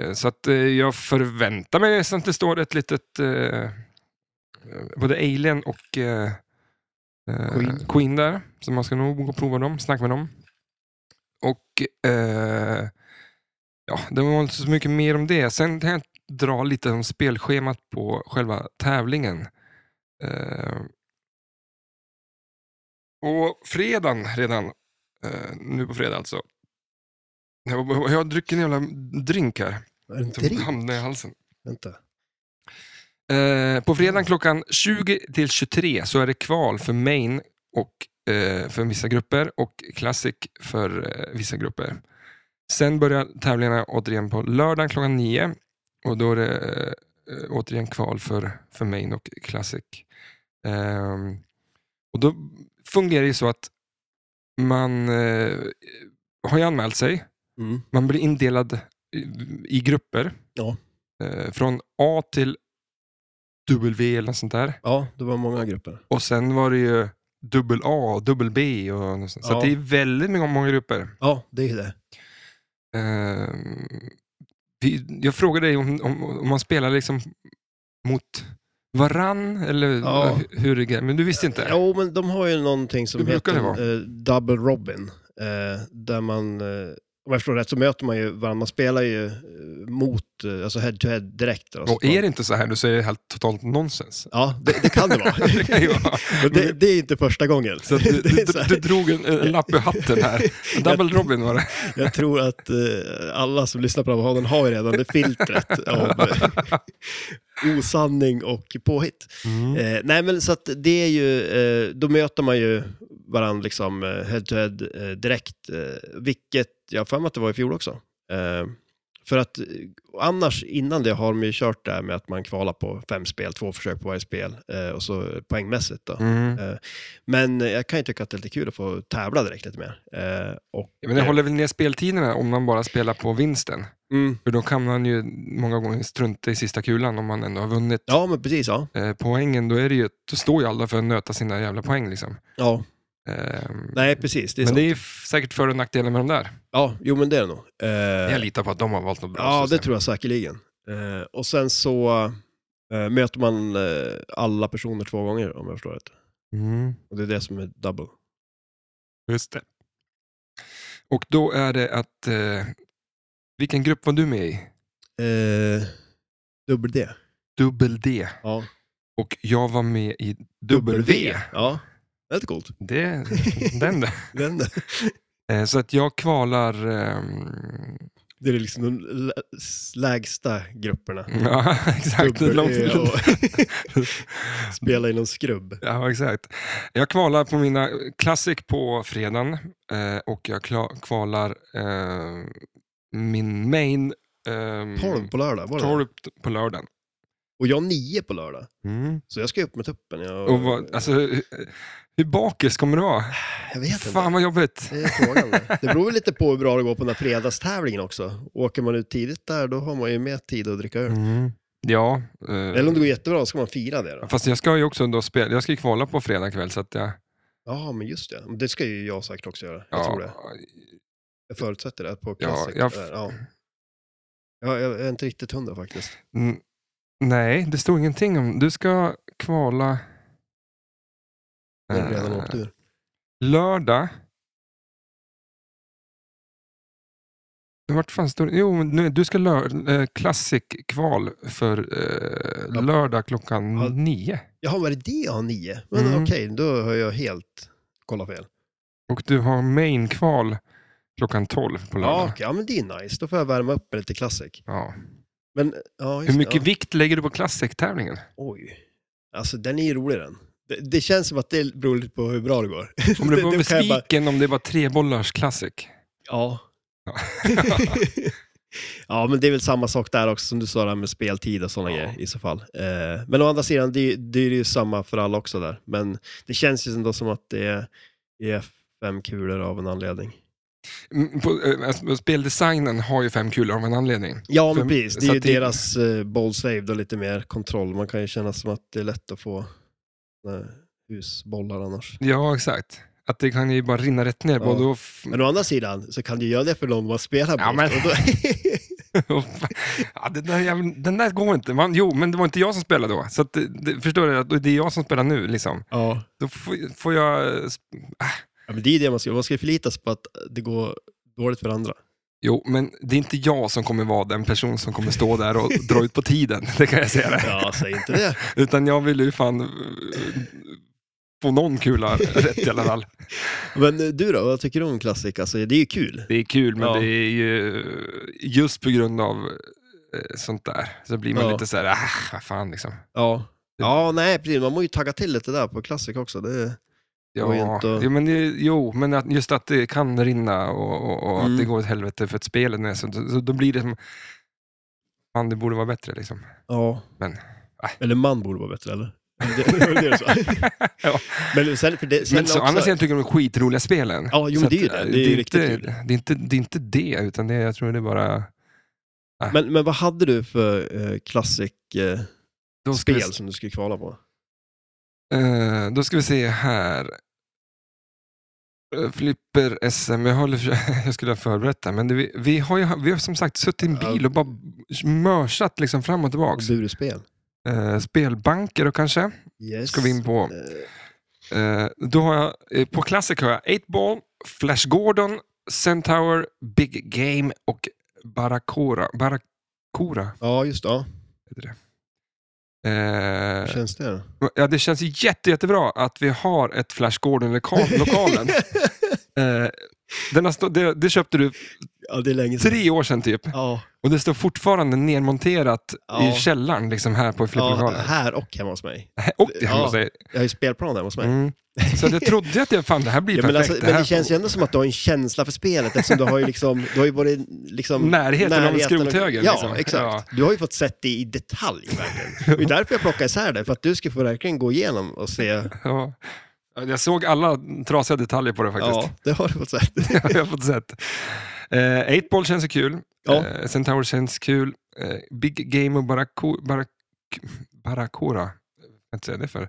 Speaker 1: Eh, så att, eh, jag förväntar mig nästan att det står ett litet, eh, eh, både Alien och eh, eh,
Speaker 2: Queen.
Speaker 1: Queen där. Så man ska nog gå och prova dem, snacka med dem. Och eh, ja, det var inte så mycket mer om det. Sen kan jag dra lite om spelschemat på själva tävlingen. Eh, och fredagen redan, eh, nu på fredag alltså. Jag, jag har druckit en jävla drink här
Speaker 2: är det en
Speaker 1: som
Speaker 2: drink?
Speaker 1: hamnade i halsen.
Speaker 2: Vänta.
Speaker 1: Eh, på fredagen klockan 20 till 23 så är det kval för main och, eh, för vissa grupper och classic för eh, vissa grupper. Sen börjar tävlingarna återigen på lördagen klockan 9 och då är det eh, eh, återigen kval för, för main och classic. Ehm, och då fungerar det ju så att man eh, har ju anmält sig
Speaker 2: Mm.
Speaker 1: man blir indelad i, i grupper.
Speaker 2: Ja.
Speaker 1: Eh, från A till W eller något sånt där.
Speaker 2: Ja, det var många grupper.
Speaker 1: Och sen var det ju dubbel A, dubbel B och något sånt. Så
Speaker 2: Ja.
Speaker 1: att det är väldigt många, många grupper.
Speaker 2: Ja, det är det.
Speaker 1: Eh, vi, jag frågade dig om, om, om man spelar liksom mot varann eller
Speaker 2: Ja.
Speaker 1: hur det är. Men du visste inte?
Speaker 2: Jo, men de har ju någonting som
Speaker 1: Hur brukar
Speaker 2: heter
Speaker 1: det vara?
Speaker 2: eh, Double Robin. Eh, där man, eh, om jag förstår rätt, så möter man ju varandra. Man spelar ju eh, mot, eh, alltså head to head direkt. då. Alltså,
Speaker 1: Och är det inte så här du säger det helt totalt nonsens?
Speaker 2: Ja, det, det kan <laughs> det vara.
Speaker 1: <laughs> Det kan ju vara.
Speaker 2: men <laughs> det, det är inte första gången.
Speaker 1: Så att du,
Speaker 2: <laughs> Det är
Speaker 1: du,
Speaker 2: så här.
Speaker 1: du drog en, en lapp ur hatten
Speaker 2: <laughs>
Speaker 1: här. Double Robin var det.
Speaker 2: Jag tror att eh, alla som lyssnar på den här podden har ju redan det filtret av eh, osanning och påhitt.
Speaker 1: Mm.
Speaker 2: Eh, nej, men så att det är ju, eh, då möter man ju varandra liksom eh, head to head eh, direkt, eh, vilket jag har för mig att det var i fjol också. Eh, för att eh, annars, innan det har de ju kört det här med att man kvalar på fem spel, två försök på varje spel eh, och så poängmässigt då.
Speaker 1: Mm.
Speaker 2: Men eh, jag kan ju tycka att det är lite kul att få tävla direkt lite mer. Eh, och,
Speaker 1: Ja, Men det håller väl ner speltiderna om man bara spelar på vinsten.
Speaker 2: Mm.
Speaker 1: För då kan man ju många gånger strunta i sista kulan om man ändå har vunnit
Speaker 2: Ja, men precis. Ja.
Speaker 1: eh, poängen. Då, är det ju, då står ju alla för att nöta sina jävla poäng. Liksom.
Speaker 2: ja.
Speaker 1: Ehm,
Speaker 2: Nej, precis. Det är
Speaker 1: men
Speaker 2: sant.
Speaker 1: det är f- säkert för och nackdelar med de där.
Speaker 2: Ja, jo men det är det nog. Eh,
Speaker 1: Jag litar på att de har valt något bra
Speaker 2: Ja,
Speaker 1: system.
Speaker 2: det tror jag säkerligen. Eh, och sen så eh, möter man eh, alla personer två gånger om jag förstår rätt.
Speaker 1: Mm,
Speaker 2: Och det är det som är double.
Speaker 1: just det. Och då är det att... Eh, vilken grupp var du med i?
Speaker 2: Eh, dubbel D.
Speaker 1: Dubbel D.
Speaker 2: Ja.
Speaker 1: Och jag var med i Dubbel V.
Speaker 2: Ja, väldigt coolt.
Speaker 1: Det, den där.
Speaker 2: Den, där.
Speaker 1: Eh, Så att jag kvalar... ehm, <laughs>
Speaker 2: det är liksom de lä- lägsta grupperna.
Speaker 1: ja, exakt.
Speaker 2: Dubbel E
Speaker 1: Långt,
Speaker 2: och spela i någon skrubb.
Speaker 1: <laughs> ja, exakt. Jag kvalar på mina Classic på fredagen eh, och jag kla- kvalar eh, min main ehm,
Speaker 2: 12 på lördag var det.
Speaker 1: torp på lördagen.
Speaker 2: Och jag har 9 på lördag.
Speaker 1: Mm.
Speaker 2: Så jag ska upp med tuppen. Jag,
Speaker 1: Och vad, alltså, hur, hur bakis kommer det vara?
Speaker 2: jag vet inte.
Speaker 1: Fan vad jobbigt.
Speaker 2: Det är frågan. det. Det beror väl lite på hur bra det går på den här fredagstävlingen också. Åker man ut tidigt där, då har man ju mer tid att dricka öl.
Speaker 1: Mm. Ja, eh,
Speaker 2: Eller om det går jättebra, då ska man fira det då.
Speaker 1: fast jag ska ju också då spela, jag ska ju kvala på fredag kväll så att jag...
Speaker 2: Ja, men just det. Men Det ska ju jag säkert också göra. Jag
Speaker 1: ja,
Speaker 2: tror det. Jag förutsätter det på
Speaker 1: Ja,
Speaker 2: Classic.
Speaker 1: jag-
Speaker 2: där. Ja. Ja, jag är inte riktigt hundra faktiskt.
Speaker 1: Mm, Nej, det stod ingenting om... Du ska kvala...
Speaker 2: Det är redan
Speaker 1: eh,
Speaker 2: åkt ur.
Speaker 1: lördag. Vart fan står det? Jo, men nu- du ska lör, eh, Classic-kval för eh,
Speaker 2: Ja.
Speaker 1: lördag klockan
Speaker 2: Ja.
Speaker 1: nio.
Speaker 2: Jaha, var det det jag har nio? Men
Speaker 1: Mm.
Speaker 2: okej, då har jag helt kollat fel.
Speaker 1: Och du har main-kval klockan tolv på
Speaker 2: Ja,
Speaker 1: lördag.
Speaker 2: okej, ja, men det är nice. Då får jag värma upp med lite Classic.
Speaker 1: Ja.
Speaker 2: Men, ja, just
Speaker 1: Hur
Speaker 2: det,
Speaker 1: mycket
Speaker 2: ja.
Speaker 1: vikt lägger du på
Speaker 2: <laughs>
Speaker 1: Classic-tävlingen?
Speaker 2: Oj. Alltså den är ju rolig den. Det, det känns som att det beror lite på hur bra det går.
Speaker 1: Om du
Speaker 2: Det-
Speaker 1: var
Speaker 2: det kan jag bara-
Speaker 1: besviken om det var tre bollars Classic?
Speaker 2: Ja.
Speaker 1: Ja.
Speaker 2: <laughs> ja, men det är väl samma sak där också som du sa där med speltid och sådana
Speaker 1: Ja.
Speaker 2: grejer i så fall. Eh, men å andra sidan, det, det är ju samma för alla också där. Men det känns ju ändå som att det är, är fem kulor av en anledning.
Speaker 1: Mm, På, eh, alltså, speldesignen har ju fem kulor av en anledning.
Speaker 2: Ja,
Speaker 1: Fem-
Speaker 2: men precis. Det
Speaker 1: så
Speaker 2: är ju
Speaker 1: att det-
Speaker 2: deras eh, ball saved och lite mer kontroll. Man kan ju känna som att det är lätt att få eh, husbollar annars.
Speaker 1: Ja, exakt. Att det kan ju bara rinna rätt ner.
Speaker 2: Ja.
Speaker 1: Både och f- <laughs>
Speaker 2: Men å andra sidan så kan du göra det för någon man spelar
Speaker 1: Ja,
Speaker 2: mot.
Speaker 1: men-
Speaker 2: Och
Speaker 1: <laughs>
Speaker 2: då...
Speaker 1: och f- ja, den, där, jäveln- den där går inte. Man, jo, men det var inte jag som spelade då. Så att, det- det, förstår du? Att det är jag som spelar nu. Liksom.
Speaker 2: ja.
Speaker 1: Då får, får jag... eh, sp-
Speaker 2: ja, men det är ju det man ska Man ska ju förlita sig på att det går dåligt för andra.
Speaker 1: Jo, men det är inte jag som kommer vara den person som kommer stå där och dra ut på tiden. Det kan jag säga. Det.
Speaker 2: <laughs> Ja, säg inte det.
Speaker 1: Utan jag vill ju fan eh, få någon kula rätt i alla fall.
Speaker 2: Men eh, du då, vad tycker du om klassik? Alltså, det är ju kul.
Speaker 1: Det är kul, men
Speaker 2: Ja.
Speaker 1: det är ju just på grund av eh, sånt där så blir man
Speaker 2: Ja.
Speaker 1: lite så här, ah, vad fan liksom.
Speaker 2: Ja. Ja, nej, precis. Man måste ju tagga till lite där på klassik också. Det... går ju
Speaker 1: Ja,
Speaker 2: inte att-
Speaker 1: jo, men, det, jo, men att, just att det kan rinna och, och, och
Speaker 2: Mm.
Speaker 1: att det går åt helvete för att spelet är så, så, då blir det som, fan det borde vara bättre liksom.
Speaker 2: Ja.
Speaker 1: Men, äh.
Speaker 2: Eller man borde vara bättre, <laughs> eller? Det, det var det du sa.
Speaker 1: Ja.
Speaker 2: Men sen, för det, sen
Speaker 1: Men så,
Speaker 2: också...
Speaker 1: annars sidan tycker jag de är skitroliga spelen.
Speaker 2: Ja, jo,
Speaker 1: Så
Speaker 2: men det är ju
Speaker 1: att,
Speaker 2: det.
Speaker 1: eh,
Speaker 2: Det är ju riktigt
Speaker 1: inte, det, är inte, det är inte det, utan det, jag tror det är bara...
Speaker 2: men, men vad hade du för eh, klassik eh,
Speaker 1: Då ska vi
Speaker 2: spel som du skulle kvala på?
Speaker 1: Eh, då ska vi se här. Eh, Flipper SM, jag, håller, för- <laughs> jag skulle ha förberett det, men det, vi, vi, har ju, vi har som sagt suttit i en bil och bara mörsat liksom fram och tillbaka.
Speaker 2: Buruspel?
Speaker 1: Eh, spelbanker och kanske,
Speaker 2: Yes.
Speaker 1: ska vi in på.
Speaker 2: Eh,
Speaker 1: Eh, då har jag, eh, på Classic har jag 8-Ball, Flash Gordon, Centaur, Big Game och Barakora. Barakora
Speaker 2: Ja, just det. Ja.
Speaker 1: heter det.
Speaker 2: Hur
Speaker 1: Eh,
Speaker 2: känns det då?
Speaker 1: ja, det känns ju jätte, jättebra att vi har ett Flash
Speaker 2: <laughs>
Speaker 1: Gordon-lokalen. Eh, den har stå, det, det köpte du
Speaker 2: ja, det är länge sedan.
Speaker 1: tre år sedan typ.
Speaker 2: Ja,
Speaker 1: Och det står fortfarande nermonterat
Speaker 2: Ja.
Speaker 1: i källaren liksom här på
Speaker 2: ja,
Speaker 1: flipplokalen.
Speaker 2: här och hemma hos mig.
Speaker 1: Och det hemma
Speaker 2: Ja.
Speaker 1: hos dig.
Speaker 2: Jag har ju spelplan hemma hos mig.
Speaker 1: Mm. Så att jag trodde att jag, fan, det här blir
Speaker 2: Ja, men,
Speaker 1: perfekt.
Speaker 2: alltså,
Speaker 1: det
Speaker 2: men
Speaker 1: här
Speaker 2: det känns ju ändå som att du har en känsla för spelet eftersom du har ju liksom, du har ju både liksom
Speaker 1: <laughs> Närheten av en
Speaker 2: och-
Speaker 1: skrothöger,
Speaker 2: Ja,
Speaker 1: liksom.
Speaker 2: exakt. Du har ju fått sett det i detalj
Speaker 1: <laughs>
Speaker 2: verkligen. Det är därför jag plockar isär det, för att du ska få verkligen gå igenom och se.
Speaker 1: ja. Ja, Jag såg alla trasiga detaljer på det faktiskt.
Speaker 2: Ja, det har du fått sett.
Speaker 1: <laughs>
Speaker 2: <laughs>
Speaker 1: jag har fått sett. Eh, 8-Ball känns ju kul.
Speaker 2: Ja.
Speaker 1: Eh, Centaur känns kul. Eh, Big Game och Barako- Barak- Barakora. Vad säger jag det för?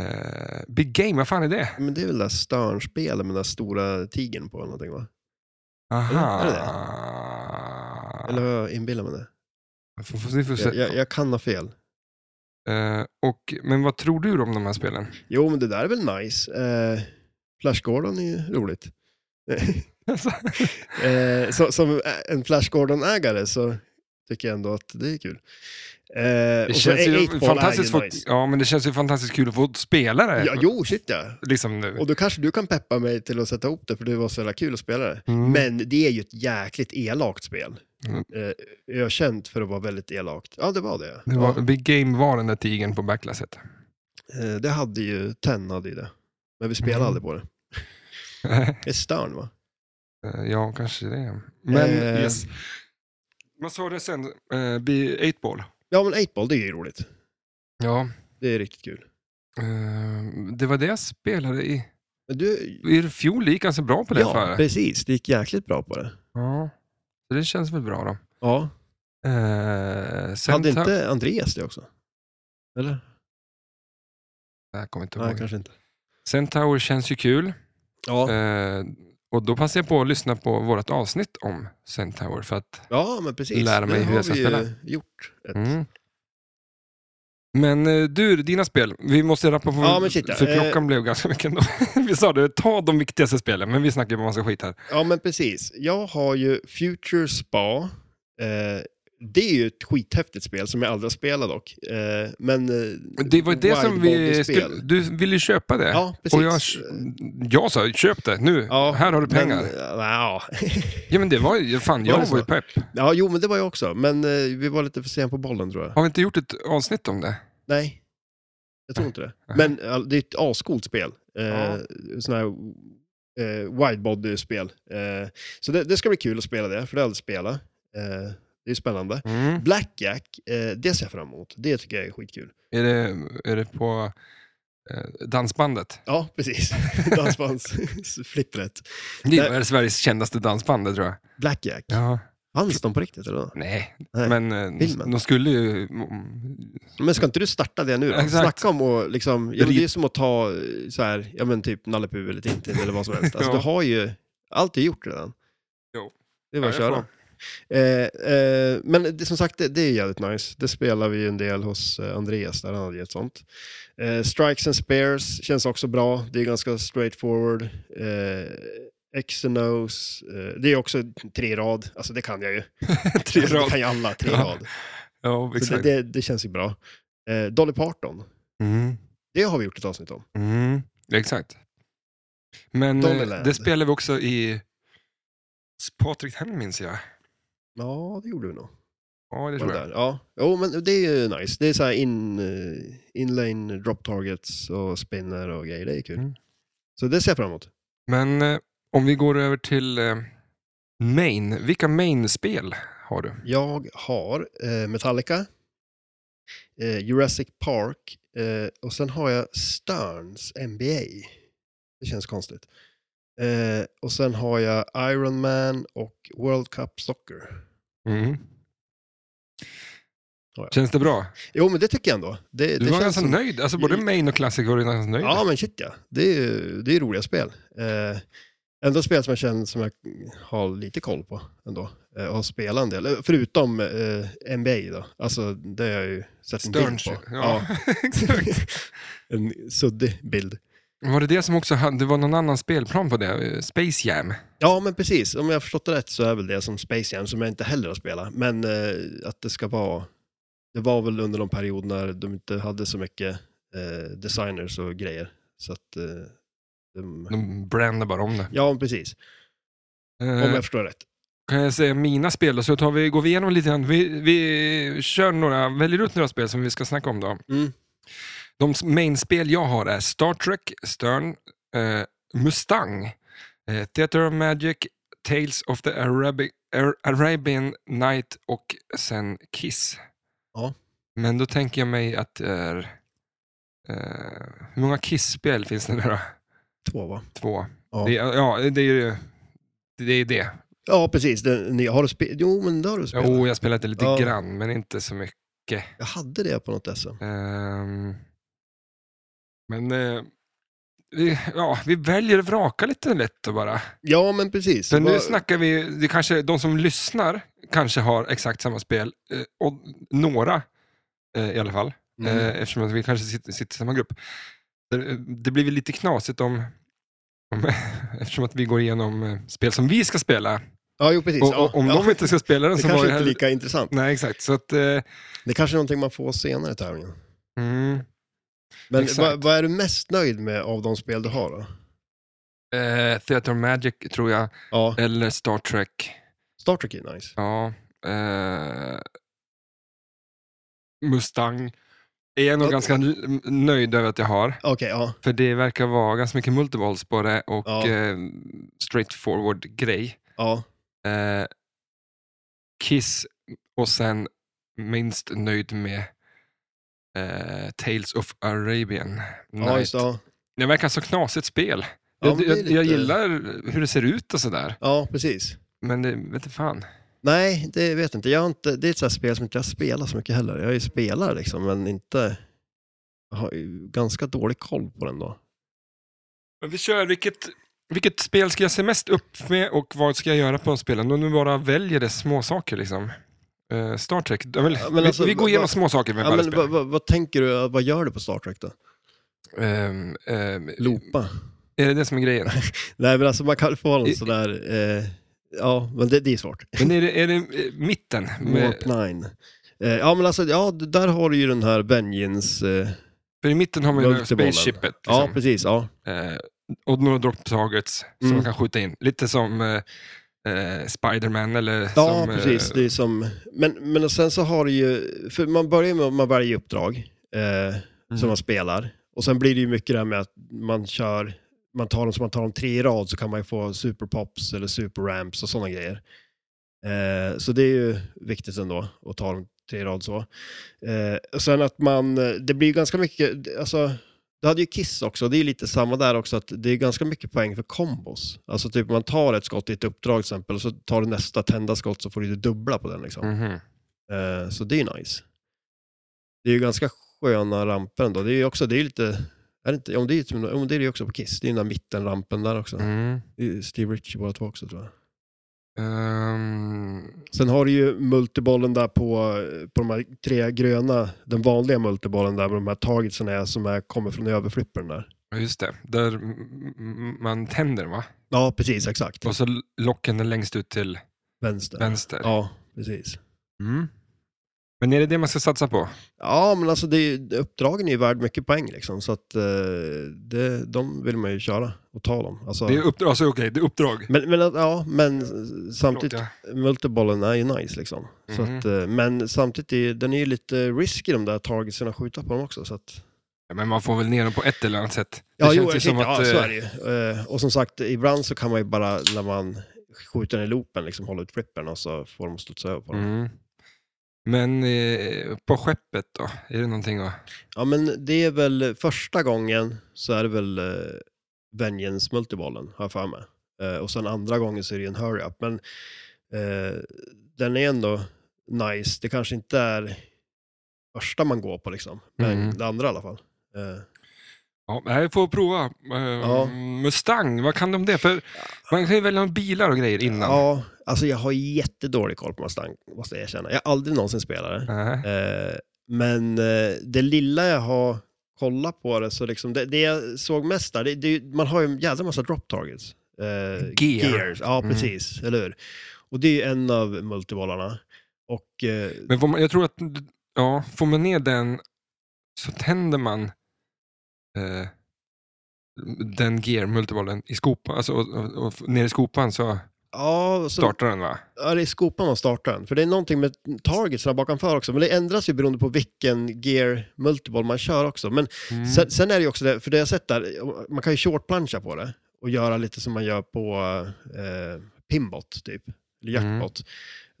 Speaker 1: Eh, Big Game, vad fan är det?
Speaker 2: Men det är väl det där Stern-spelet med den där stora tigern på eller någonting va?
Speaker 1: Aha.
Speaker 2: Är det det? Eller har jag inbillat mig det?
Speaker 1: Får- får- ni får se.
Speaker 2: Jag, jag, jag kan ha fel.
Speaker 1: Eh, och, men vad tror du om de här spelen?
Speaker 2: <laughs> Jo, men det där är väl nice. Eh, Flash Gordon är ju roligt.
Speaker 1: Alltså,
Speaker 2: Eh, så, som ä- en Flash Gordon-ägare så tycker jag ändå att det är kul. Eh,
Speaker 1: det känns ju fantastiskt
Speaker 2: för...
Speaker 1: för, ja, men det känns ju fantastiskt kul att få spela det.
Speaker 2: ja, Jo, shit ja.
Speaker 1: Liksom nu.
Speaker 2: Och då kanske du kan peppa mig till att sätta ihop det, för det var så jävla kul att spela det.
Speaker 1: Mm.
Speaker 2: Men det är ju ett jäkligt elakt spel.
Speaker 1: Mm.
Speaker 2: Eh, ökänt för att vara väldigt elakt. Ja, det var det.
Speaker 1: det var,
Speaker 2: Ja.
Speaker 1: Big Game var den där tigern på backlasset. <laughs>
Speaker 2: Eh, det hade ju, Ten hade ju det. Men vi spelade
Speaker 1: Mm.
Speaker 2: aldrig på det. Det är Stern va?
Speaker 1: Eh, ja, kanske det. Men
Speaker 2: Eh.
Speaker 1: yes. Vad sa du sen? Eh, Be 8-ball?
Speaker 2: Ja, men 8-ball, det är ju roligt.
Speaker 1: Ja,
Speaker 2: Det är riktigt kul.
Speaker 1: eh, det var det jag spelade i.
Speaker 2: Men du,
Speaker 1: I fjol gick ganska bra på det.
Speaker 2: ja,
Speaker 1: för.
Speaker 2: precis. Det gick jäkligt bra på det.
Speaker 1: ja. Så det känns väl bra då.
Speaker 2: Ja.
Speaker 1: Eh, sen
Speaker 2: Hade
Speaker 1: ta-
Speaker 2: inte Andreas det också? Eller?
Speaker 1: Jag kommer inte
Speaker 2: Nej,
Speaker 1: ihåg.
Speaker 2: kanske inte.
Speaker 1: Centaur känns ju kul.
Speaker 2: Ja.
Speaker 1: Eh, och då passar jag på att lyssna på vårt avsnitt om Centaur. För att,
Speaker 2: ja, men precis.
Speaker 1: lära mig
Speaker 2: Det
Speaker 1: hur jag ska
Speaker 2: har vi
Speaker 1: spela.
Speaker 2: ju gjort. Ett.
Speaker 1: mm. Men eh, du, dina spel. Vi måste rappa på,
Speaker 2: Ja, men shit, ja. Eh,
Speaker 1: för klockan blev ganska mycket ändå. <laughs> vi sa det, ta de viktigaste spelen, men vi snackar ju om massa skit här.
Speaker 2: Ja, men precis. Jag har ju Future Spa. Eh, det är ju ett skithäftigt spel som jag aldrig har spelat dock. Eh, men... eh,
Speaker 1: Det var ju det som vi...
Speaker 2: widebody-spel.
Speaker 1: Skulle, du ville ju köpa det.
Speaker 2: Ja, precis.
Speaker 1: och jag, jag sa, köp det nu.
Speaker 2: Ja,
Speaker 1: här har du pengar.
Speaker 2: Men, eh, ja, <laughs>
Speaker 1: ja, men det var ju... Fan,
Speaker 2: Var
Speaker 1: jag
Speaker 2: det så?
Speaker 1: var ju pepp.
Speaker 2: ja, jo, men det var jag också. Men eh, vi var lite för sent på bollen tror jag.
Speaker 1: Har vi inte gjort ett avsnitt om det?
Speaker 2: Nej, jag tror inte det.
Speaker 1: Nej.
Speaker 2: Men ja, det är ett ascoolt spel. Eh,
Speaker 1: Ja.
Speaker 2: Sån här eh, widebody-spel. Eh, så det, det ska bli kul att spela det, för det har jag aldrig spelat. Eh, det är spännande.
Speaker 1: Mm.
Speaker 2: Blackjack, eh, det ser jag fram emot. Det tycker jag är skitkul.
Speaker 1: Är, det, är det på eh, dansbandet?
Speaker 2: Ja, precis. <laughs> Dansbandsflippret.
Speaker 1: Det
Speaker 2: Nej.
Speaker 1: är Sveriges kändaste dansband, det tror jag.
Speaker 2: Blackjack.
Speaker 1: Ja.
Speaker 2: Fanns de på riktigt eller? vad?
Speaker 1: Nej,
Speaker 2: Nej.
Speaker 1: men eh,
Speaker 2: Filmen.
Speaker 1: de skulle ju... mm,
Speaker 2: Men ska inte du starta det nu då?
Speaker 1: Exakt.
Speaker 2: Snacka om och liksom, ja, men
Speaker 1: Rit-
Speaker 2: det är som att ta eh, så här, ja men typ Nalle Puh eller Tintin eller vad som
Speaker 1: <laughs>
Speaker 2: helst. Alltså
Speaker 1: Ja.
Speaker 2: du har ju, allt är gjort redan.
Speaker 1: Jo.
Speaker 2: Det är bara att
Speaker 1: Ja, jag
Speaker 2: köra. Eh, eh, men det, som sagt, det, det är jävligt nice. Det spelar vi ju en del hos eh, Andreas där han hade ett sånt. Eh, Strikes and Spares känns också bra. Det är ganska straightforward. Eh, X and O's, eh, det är också tre i rad. Alltså det kan jag
Speaker 1: <laughs>
Speaker 2: ju.
Speaker 1: Tre
Speaker 2: Alltså, det
Speaker 1: rad.
Speaker 2: kan ju alla, tre i
Speaker 1: Ja.
Speaker 2: rad.
Speaker 1: Ja,
Speaker 2: Så det,
Speaker 1: exakt.
Speaker 2: det, det känns ju bra. Eh, Dolly Parton,
Speaker 1: Mm,
Speaker 2: det har vi gjort ett avsnitt om.
Speaker 1: mm, exakt. Men eh,
Speaker 2: Dollyland.
Speaker 1: det spelade vi också i Patrik Henn, minns jag.
Speaker 2: Ja, det gjorde vi nog.
Speaker 1: Ja, det
Speaker 2: Var
Speaker 1: tror
Speaker 2: det
Speaker 1: jag.
Speaker 2: där? Ja. Jo, men det är ju nice. Det är så här in, eh, inlane drop targets och spinner och grejer. Det är kul.
Speaker 1: Mm.
Speaker 2: Så det ser jag fram emot.
Speaker 1: Men eh, om vi går över till eh, main. Vilka main-spel har du?
Speaker 2: Jag har eh, Metallica, eh, Jurassic Park eh, och sen har jag Sterns NBA. Det känns konstigt. Eh, och sen har jag Iron Man och World Cup Soccer.
Speaker 1: Mm.
Speaker 2: Ja, ja.
Speaker 1: Känns det bra?
Speaker 2: Jo, men det tycker jag ändå. Det,
Speaker 1: Du
Speaker 2: det
Speaker 1: var
Speaker 2: känns
Speaker 1: ganska
Speaker 2: som-
Speaker 1: nöjd. Alltså både main och classic var du ganska nöjd.
Speaker 2: Ja, men shit ja. Det är ju det är roliga spel. Eh, ändå spel som jag känner som jag har lite koll på ändå. Eh, och har spelat en del. Eh, Förutom eh, NBA då. Alltså, det har jag ju sett en bild
Speaker 1: Sterns.
Speaker 2: på.
Speaker 1: ja. <laughs> exakt.
Speaker 2: en suddig bild.
Speaker 1: Var det det som också hade, det var någon annan spelplan på det? eh, Space Jam?
Speaker 2: Ja, men precis. Om jag har förstått det rätt så är väl det som Space Jam, som jag inte heller har spelat. Men eh, att det ska vara... Det var väl under de perioder när de inte hade så mycket eh, designers och grejer. Så att... Eh, de...
Speaker 1: De brandade bara om det.
Speaker 2: Ja, precis. Om
Speaker 1: Eh,
Speaker 2: jag förstår rätt.
Speaker 1: kan jag säga mina spel då, så tar vi, går vi igenom lite grann. Vi, vi kör några, väljer ut några spel som vi ska snacka om då.
Speaker 2: Mm.
Speaker 1: De s- main-spel jag har är Star Trek, Stern, eh, Mustang, eh, Theater of Magic, Tales of the Arabi, Ar- Arabian Night och sen Kiss.
Speaker 2: Ja.
Speaker 1: Men då tänker jag mig att det är... Eh, hur många Kiss-spel finns det nu då?
Speaker 2: Två, va?
Speaker 1: Två.
Speaker 2: Ja.
Speaker 1: Det, är- ja, det är ju det. Är det.
Speaker 2: Ja, precis. Den nya. Har du spe... Jo, men det har du spelat.
Speaker 1: Jo, Oh, jag spelade lite
Speaker 2: Ja.
Speaker 1: grann, men inte så mycket.
Speaker 2: Jag hade det på något SM.
Speaker 1: Ehm, Men eh, vi, ja, vi väljer att vraka lite lätt och bara.
Speaker 2: Ja, men precis.
Speaker 1: Så nu
Speaker 2: Vad-
Speaker 1: snackar vi, det kanske, de som lyssnar kanske har exakt samma spel, eh, och några eh, i alla fall,
Speaker 2: Mm.
Speaker 1: eh, eftersom att vi kanske sitter, sitter i samma grupp. Det, det blir väl lite knasigt om, om <laughs> eftersom att vi går igenom eh, spel som vi ska spela.
Speaker 2: ja, jo, precis.
Speaker 1: Och,
Speaker 2: ja,
Speaker 1: och, om
Speaker 2: ja.
Speaker 1: de inte ska spela den
Speaker 2: det
Speaker 1: så var det
Speaker 2: kanske inte är
Speaker 1: här...
Speaker 2: lika intressant.
Speaker 1: Nej, exakt. Så att, eh,
Speaker 2: Det kanske är någonting man får senare i tävlingen.
Speaker 1: mm,
Speaker 2: Men
Speaker 1: Exakt.
Speaker 2: vad, vad är du mest nöjd med av de spel du har då?
Speaker 1: eh, Theater of Magic tror jag,
Speaker 2: Ja,
Speaker 1: eller Star Trek.
Speaker 2: Star Trek är nice.
Speaker 1: Ja. Eh, Mustang är jag nog
Speaker 2: Ja.
Speaker 1: ganska l- nöjd över att jag har.
Speaker 2: Okej, ja.
Speaker 1: För det verkar vara ganska mycket multivolts på det och
Speaker 2: Ja.
Speaker 1: eh, straightforward grej.
Speaker 2: ja.
Speaker 1: Eh, Kiss och sen minst nöjd med eh, Tales of Arabian.
Speaker 2: Ja,
Speaker 1: Night.
Speaker 2: just det. Ja.
Speaker 1: Det verkar så knasigt spel.
Speaker 2: Ja,
Speaker 1: jag,
Speaker 2: men det är
Speaker 1: jag, jag
Speaker 2: lite-
Speaker 1: gillar hur det ser ut och sådär,
Speaker 2: ja, precis.
Speaker 1: men det vet inte fan.
Speaker 2: Nej, det vet jag inte. Jag har inte. Det är ett sånt här spel som inte jag spelar så mycket heller. Jag är ju spelare liksom, men inte... Jag har ju ganska dålig koll på den då.
Speaker 1: Men vi kör, vilket, vilket spel ska jag se mest upp med och vad ska jag göra på spelen? Om du bara väljer det små saker liksom. Eh, Star Trek, ja, men,
Speaker 2: Ja, men
Speaker 1: vi,
Speaker 2: alltså,
Speaker 1: vi går
Speaker 2: vad-
Speaker 1: igenom
Speaker 2: vad-
Speaker 1: små saker med
Speaker 2: Ja,
Speaker 1: varje
Speaker 2: men,
Speaker 1: spel.
Speaker 2: vad, vad, vad tänker du, vad gör du på Star Trek då?
Speaker 1: Ehm, ehm,
Speaker 2: Loopa?
Speaker 1: är det det som är grejen?
Speaker 2: Nej, men alltså man kan få
Speaker 1: I-
Speaker 2: någon sån där... Eh, ja, men det, det är svårt.
Speaker 1: Men är det, är det eh, mitten? Med,
Speaker 2: Warp 9. Eh, ja, men alltså, ja, d- där har du ju den här Benjins... Eh,
Speaker 1: för i mitten har man ju det här
Speaker 2: Multibollen.
Speaker 1: spaceshipet. Liksom.
Speaker 2: Ja, precis. Ja.
Speaker 1: Eh, och några drop targets som
Speaker 2: Mm.
Speaker 1: man kan skjuta in. Lite som eh, eh, Spiderman eller
Speaker 2: Ja,
Speaker 1: som... eh,
Speaker 2: precis. Det är som, men, men och sen så har du ju, för man börjar med att man väljer uppdrag eh,
Speaker 1: Mm.
Speaker 2: som man spelar. Och sen blir det ju mycket det här med att man kör, man tar dem som man tar dem tre i rad så kan man ju få superpops eller superramps och sådana grejer. Eh, så det är ju viktigt ändå att ta dem tre i rad så. Eh, och sen att man, eh, det blir ju ganska mycket, alltså du hade ju Kiss också, det är ju lite samma där också, att det är ganska mycket poäng för kombos. Alltså typ man tar ett skott i ett uppdrag till exempel, och så tar du nästa tända skott så får du det dubbla på den liksom.
Speaker 1: Mhm.
Speaker 2: Eh, så det är ju nice. Det är ju ganska sköna ramper ändå. Det är ju också, det är ju lite, är det inte, om det är ju som- om det är det ju också på Kiss, det är ju den där mittenrampen där också.
Speaker 1: Mm.
Speaker 2: Det är Steve Ritchie båda två också tror jag.
Speaker 1: Ehm,
Speaker 2: Sen har du ju multibollen där på, på de här tre gröna, den vanliga multibollen där med de här targetsen är, som är, kommer från överflippern där.
Speaker 1: ja, just det. Där mm, mm, man tänder va?
Speaker 2: Ja, precis, exakt.
Speaker 1: Och så l- locken är längst ut till
Speaker 2: Vänster.
Speaker 1: vänster.
Speaker 2: Ja, precis.
Speaker 1: Mm. Men är det det man ska satsa på?
Speaker 2: Ja, men alltså det är, ju- uppdragen är ju värd mycket poäng liksom, så att eh, det, de vill man ju köra och ta dem. Alltså,
Speaker 1: Det är uppdrag, alltså, okej, det är uppdrag.
Speaker 2: men, men, att- ja, men samtidigt,
Speaker 1: Förlåt,
Speaker 2: multibollen är ju nice liksom. Så
Speaker 1: Mhm.
Speaker 2: att, eh, men samtidigt, är, ju- den är ju lite risky de där targetsen att skjuta på dem också. Så att,
Speaker 1: ja. Men man får väl ner dem på ett eller annat sätt.
Speaker 2: ja, jo,
Speaker 1: ju
Speaker 2: jag tänkte, ja, så
Speaker 1: eh,
Speaker 2: är det ju. Eh, och som sagt, ibland så kan man ju bara, när man skjuter den i loopen, liksom hålla ut flippern och så får de studsa över på dem.
Speaker 1: Mm. Men eh, på skeppet då? Är det någonting att...
Speaker 2: Ja, men det är väl första gången så är det väl eh, Vengeance multibollen, har jag för mig. Eh, och sen andra gången så är det ju en hurry-up. Men eh, den är ändå nice. Det kanske inte är första man går på liksom, men
Speaker 1: Mm.
Speaker 2: det andra i alla fall. Eh,
Speaker 1: Ja, nej, jag får prova. Eh, Mustang, vad kan de det? För man kan ju välja bilar och grejer innan.
Speaker 2: ja, alltså jag har jättedålig koll på Mustang, måste jag erkänna. Jag har aldrig någonsin spelat det.
Speaker 1: Nej.
Speaker 2: Eh, men eh, det lilla jag har kollat på det, så liksom, det, det jag såg mest där, det, det, man har ju en jävla massa drop targets. Eh,
Speaker 1: Gear.
Speaker 2: Gears, ja
Speaker 1: Mm.
Speaker 2: precis, eller hur? Och det är ju en av multibollarna. Och eh,
Speaker 1: Men får man, jag tror att, ja, får man ner den så tänder man eh, den gear, multibollen, i skopan. Alltså, och, och, och ner i skopan så
Speaker 2: ja, så,
Speaker 1: startar den va?
Speaker 2: ja, det är skopan man startar den. För det är någonting med targetsarna bakomför också, men det ändras ju beroende på vilken gear multiboll man kör också. Men
Speaker 1: Mm.
Speaker 2: Sen, sen är det ju också det, för det jag sett där, man kan ju shortplancha på det och göra lite som man gör på eh, pinbot typ, eller
Speaker 1: Mm.
Speaker 2: jackpot,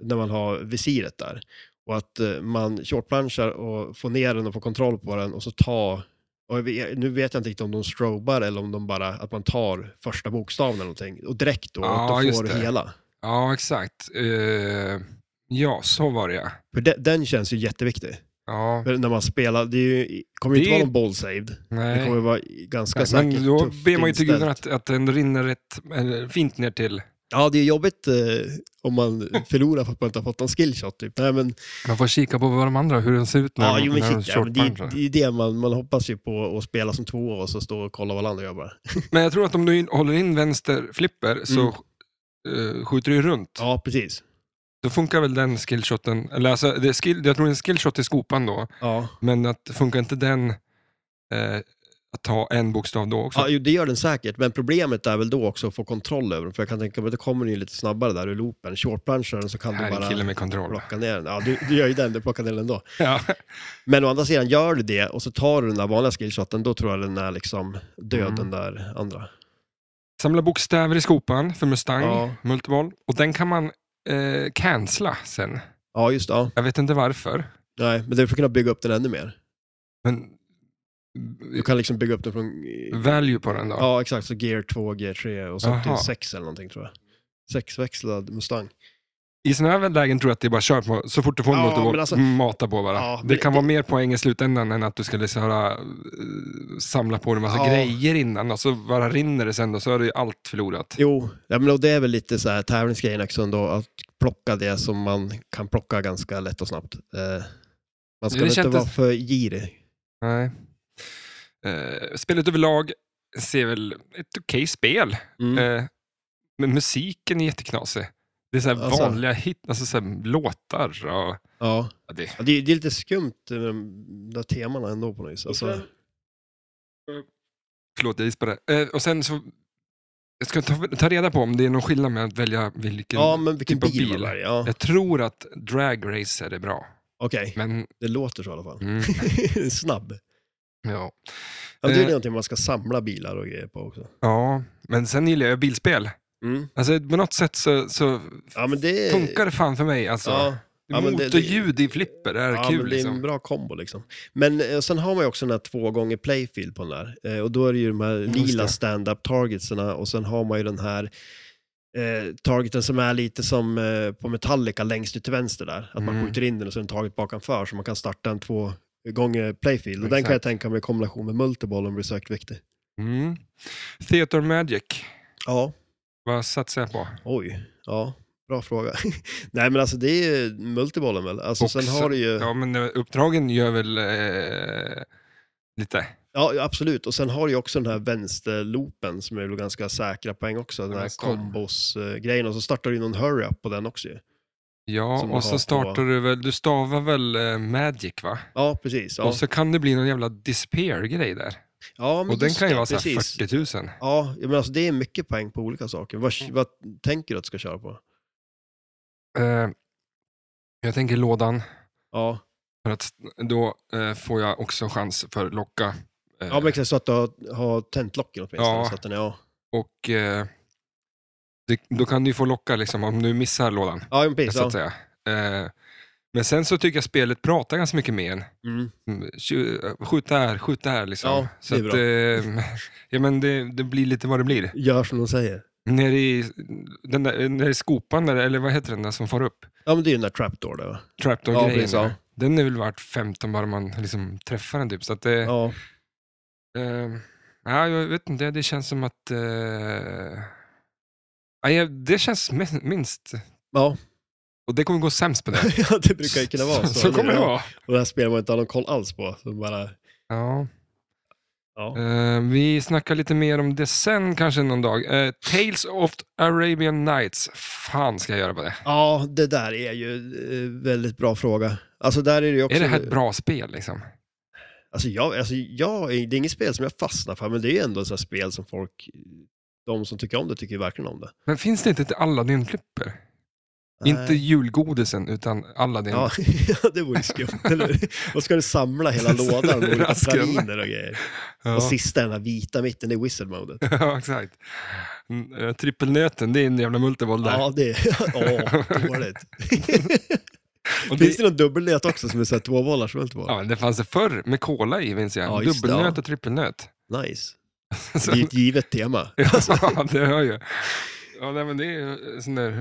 Speaker 2: när man har visiret där. Och att eh, man shortplanchar och får ner den och får kontroll på den och så ta och jag vet- nu vet jag inte riktigt om de strobar eller om de bara, att man tar första bokstaven eller någonting och direkt då,
Speaker 1: Ja,
Speaker 2: att då
Speaker 1: just
Speaker 2: får du
Speaker 1: det.
Speaker 2: hela.
Speaker 1: Ja, exakt. Eh, ja, så var det ja.
Speaker 2: För de, den känns ju jätteviktig.
Speaker 1: Ja,
Speaker 2: För när man spelar, det är ju, kommer ju
Speaker 1: Det
Speaker 2: inte
Speaker 1: är-
Speaker 2: vara någon ball saved. Det
Speaker 1: nej.
Speaker 2: kommer vara ganska
Speaker 1: Nej,
Speaker 2: säkert
Speaker 1: Men då
Speaker 2: tufft
Speaker 1: ber man ju till
Speaker 2: inställt.
Speaker 1: gudarna att, att den rinner rätt, eller, fint ner till.
Speaker 2: Ja, det är jobbigt eh, om man förlorar för att man inte har fått någon skillshot. Typ. Nej, men,
Speaker 1: Man får kika på vad de andra, hur den ser ut när,
Speaker 2: ja,
Speaker 1: de-
Speaker 2: jo, men,
Speaker 1: när de
Speaker 2: shit, ja, men det,
Speaker 1: shortpunchar.
Speaker 2: det är det man, man hoppas ju på att spela som två och så stå och kolla vad alla andra gör bara.
Speaker 1: Men jag tror att om du in, håller in vänster flipper så eh, skjuter du ju runt.
Speaker 2: Mm. Ja, precis.
Speaker 1: Då funkar väl den skillshoten, eller alltså, det är skill, jag tror det är en skillshot i skopan då,
Speaker 2: Ja.
Speaker 1: men att funkar inte den eh, att ta en bokstav då också?
Speaker 2: Ja, jo, det gör den säkert, men problemet är väl då också att få kontroll över den. För jag kan tänka mig att det kommer den ju lite snabbare där ur loopen. Shortplancharen så kan
Speaker 1: Här
Speaker 2: du
Speaker 1: är en kille
Speaker 2: bara
Speaker 1: med kontroll.
Speaker 2: plocka ner den. Ja, du, du gör ju den, du plockar ner den då.
Speaker 1: Ja.
Speaker 2: Men å andra sidan, gör du det och så tar du den där vanliga skillshoten, då tror jag den är liksom död,
Speaker 1: Mm.
Speaker 2: den där andra.
Speaker 1: Samla bokstäver i skopan för Mustang,
Speaker 2: Ja.
Speaker 1: multiball. Och den kan man eh, cancella sen.
Speaker 2: Ja, just det. Ja.
Speaker 1: Jag vet inte varför.
Speaker 2: Nej, men det är för att kunna bygga upp den ännu mer.
Speaker 1: Men
Speaker 2: Du kan liksom bygga upp den från...
Speaker 1: value på den då?
Speaker 2: Ja, exakt. Så gear 2, gear 3 och så upp till
Speaker 1: Aha.
Speaker 2: 6 eller någonting tror jag. Sexväxlad Mustang.
Speaker 1: I sådana här lägen tror jag att det är bara kör på, så fort du får en
Speaker 2: Ja,
Speaker 1: multiball,
Speaker 2: men alltså-
Speaker 1: mata på bara.
Speaker 2: Ja, men
Speaker 1: det kan
Speaker 2: det-
Speaker 1: vara mer poäng i slutändan än att du ska liksom höra, eh, samla på dig en massa
Speaker 2: Ja.
Speaker 1: grejer innan och så bara rinner det sen och så har du ju allt förlorat.
Speaker 2: Jo, ja, men och det är väl lite så här tävlingsgrejen också ändå, att plocka det som man kan plocka ganska lätt och snabbt. Eh, man ska
Speaker 1: Det
Speaker 2: väl inte
Speaker 1: kändes-
Speaker 2: vara för girig.
Speaker 1: Nej. Eh, spelet överlag ser väl ett okej spel.
Speaker 2: Mm.
Speaker 1: Eh, men musiken är jätteknasig. Det är så här
Speaker 2: Alltså.
Speaker 1: vanliga hit, alltså så här låtar och...
Speaker 2: Ja.
Speaker 1: Ja, det,
Speaker 2: Ja, det, är- det är lite skumt med de där temana ändå på något vis.
Speaker 1: Typ
Speaker 2: Alltså,
Speaker 1: förlåt, jag gissade. Eh, och sen så... Jag ska ta, ta reda på om det är någon skillnad med att välja vilken...
Speaker 2: ja, men vilken
Speaker 1: typ av
Speaker 2: bil,
Speaker 1: bil.
Speaker 2: man väljer. Ja,
Speaker 1: Jag tror att dragracer är bra,
Speaker 2: Okej,
Speaker 1: men...
Speaker 2: det låter så i alla fall. <laughs>
Speaker 1: Mm,
Speaker 2: Snabb.
Speaker 1: ja.
Speaker 2: Ja, det är
Speaker 1: Eh.
Speaker 2: någonting man ska samla bilar och grejer på också.
Speaker 1: ja, men sen gillar jag bilspel.
Speaker 2: Mm.
Speaker 1: Alltså, på något sätt så, så
Speaker 2: Ja, men det...
Speaker 1: funkar det fan för mig. Alltså.
Speaker 2: Eh. Ja, Ja, men det- det-
Speaker 1: Motorljud i flipper är
Speaker 2: ja,
Speaker 1: kul.
Speaker 2: men det är en
Speaker 1: Liksom.
Speaker 2: bra kombo liksom. Men eh, sen har man ju också den här två gånger playfield på den där. Eh, och då är det ju de här
Speaker 1: Just
Speaker 2: lila
Speaker 1: det.
Speaker 2: stand-up targetserna och sen har man ju den här eh, targeten som är lite som eh, på Metallica längst ut till vänster där. Att man
Speaker 1: Mm.
Speaker 2: skjuter in den och sen target bakanför så man kan starta en två gånger playfield. Och den kan jag
Speaker 1: Exakt.
Speaker 2: tänka mig i kombination med multiball om blir sökt viktig.
Speaker 1: Mm. Theater Magic,
Speaker 2: Ja,
Speaker 1: vad satsar jag på?
Speaker 2: oj, ja. Bra fråga. <laughs> Nej men alltså det är ju multibollen väl? Alltså
Speaker 1: Och
Speaker 2: sen
Speaker 1: så-
Speaker 2: har du ju...
Speaker 1: Ja, men eh, uppdragen gör väl eh, lite.
Speaker 2: Ja, ja, absolut. Och sen har du ju också den här vänsterloopen som är väl ganska säkra poäng också. Den
Speaker 1: Den
Speaker 2: här
Speaker 1: är stark.
Speaker 2: kombos-grejen. Och så startar du ju någon hurry-up på den också ju.
Speaker 1: Ja,
Speaker 2: Som man
Speaker 1: och
Speaker 2: har
Speaker 1: så
Speaker 2: på-
Speaker 1: startar du väl, du stavar väl eh, Magic va?
Speaker 2: Ja, precis. Ja,
Speaker 1: Och så kan det bli någon jävla disappear-grej där.
Speaker 2: ja men
Speaker 1: Och den
Speaker 2: just
Speaker 1: kan ju
Speaker 2: det,
Speaker 1: vara så här
Speaker 2: precis.
Speaker 1: 40 000.
Speaker 2: Ja, men alltså det är mycket poäng på olika saker. Vad,
Speaker 1: Mm.
Speaker 2: vad tänker du att du ska köra på?
Speaker 1: Eh, jag tänker lådan,
Speaker 2: Ja,
Speaker 1: för att då eh, får jag också chans för locka. eh,
Speaker 2: ja men exakt så att du har, har tänt locken åtminstone.
Speaker 1: Ja.
Speaker 2: Så att den är, ja.
Speaker 1: Och eh, det, då kan du ju få locka liksom, om du missar lådan.
Speaker 2: ja, men precis.
Speaker 1: Så att
Speaker 2: Ja.
Speaker 1: säga. Eh, men sen så tycker jag spelet pratar ganska mycket med en.
Speaker 2: Mm.
Speaker 1: Mm, tju- Skjut där, skjut där liksom.
Speaker 2: Ja,
Speaker 1: så
Speaker 2: det är
Speaker 1: att, eh, <laughs> ja, men det, det blir lite vad det blir.
Speaker 2: Gör som de säger.
Speaker 1: Nere i, den där, nere i skopan, där, eller vad heter den där som far upp?
Speaker 2: Ja, men det är ju den där trapdoor där va? Ja,
Speaker 1: Trapdoor-grejen.
Speaker 2: precis, ja.
Speaker 1: Den är väl värt 15 bara man liksom träffar den typ. Så att det, ja.
Speaker 2: Ja, <laughs>
Speaker 1: ja, jag vet inte, det känns som att... Eh, ja, jag- det känns me- minst.
Speaker 2: ja.
Speaker 1: Och det kommer gå sämst på det.
Speaker 2: ja det <laughs> brukar ju kunna vara
Speaker 1: <laughs>
Speaker 2: så.
Speaker 1: Så, så kommer det
Speaker 2: Ja.
Speaker 1: vara.
Speaker 2: Och det här spelar man inte har någon koll alls på. Så bara,
Speaker 1: Ja.
Speaker 2: ja.
Speaker 1: Eh, vi snackar lite mer om det sen kanske någon dag. Eh, Tales of Arabian Nights. Fan ska jag göra på det.
Speaker 2: Ja, det där är ju eh, väldigt bra fråga. Alltså där är det ju också...
Speaker 1: Är det här ett bra spel liksom?
Speaker 2: Alltså, jag, alltså jag, är- det är inget spel som jag fastnar för, men det är ju ändå ett sånt här spel som folk, de som tycker om det, tycker ju verkligen om det.
Speaker 1: Men finns det inte ett Aladdin-flipper? Inte
Speaker 2: Nej.
Speaker 1: julgodisen, utan Aladdin.
Speaker 2: Ja, <laughs> det vore ju skumt, eller hur? Och ska du
Speaker 1: <laughs>
Speaker 2: samla hela
Speaker 1: Så
Speaker 2: lådan med olika
Speaker 1: rasken.
Speaker 2: praliner och grejer.
Speaker 1: Ja.
Speaker 2: Och sista, den här vita mitten, det är wizard-modet.
Speaker 1: <laughs> ja, exakt. Mm, eh, trippelnöten, det är en jävla multiboll där.
Speaker 2: Ja, det är... <laughs> Åh, dåligt.
Speaker 1: <laughs> Och
Speaker 2: Finns
Speaker 1: det,
Speaker 2: det någon dubbelnät också som är så här två bollar som inte
Speaker 1: ja,
Speaker 2: var?
Speaker 1: men det fanns det förr med cola i, minns jag.
Speaker 2: Ja, just det,
Speaker 1: Dubbelnöt
Speaker 2: ja. <laughs>
Speaker 1: och trippelnöt. <laughs>
Speaker 2: Nice.
Speaker 1: Så- <laughs>
Speaker 2: Det är ett givet tema.
Speaker 1: ja, det hör jag. Ja, nej, men det är ju sån där...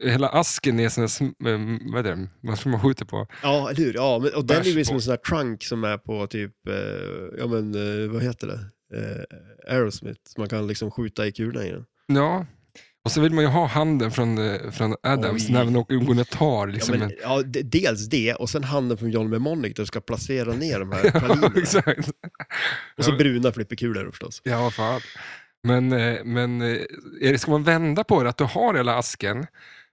Speaker 1: eh, Hela asken är sån där... sm- eh, Vad är det? Vad som man skjuter på?
Speaker 2: Ja, eller hur? Ja, men, och den är ju
Speaker 1: Bärs
Speaker 2: som
Speaker 1: på.
Speaker 2: en sån här trunk som är på typ, eh, ja men eh, vad heter det? Eh, Aerosmith, som man kan liksom skjuta i kulorna i den.
Speaker 1: Ja. Och så vill man ju ha handen från, eh, från Adams
Speaker 2: Oj.
Speaker 1: när man åker går ner och tar. Liksom,
Speaker 2: ja, men,
Speaker 1: en- <laughs>
Speaker 2: ja, d- dels det, och sen handen från John Memonic där du ska placera ner
Speaker 1: <laughs>
Speaker 2: de här pralinerna.
Speaker 1: Exakt.
Speaker 2: och så bruna flipperkulor förstås.
Speaker 1: Ja, vad fan. Men, eh, men eh, är det- ska man vända på det? Att du har hela asken,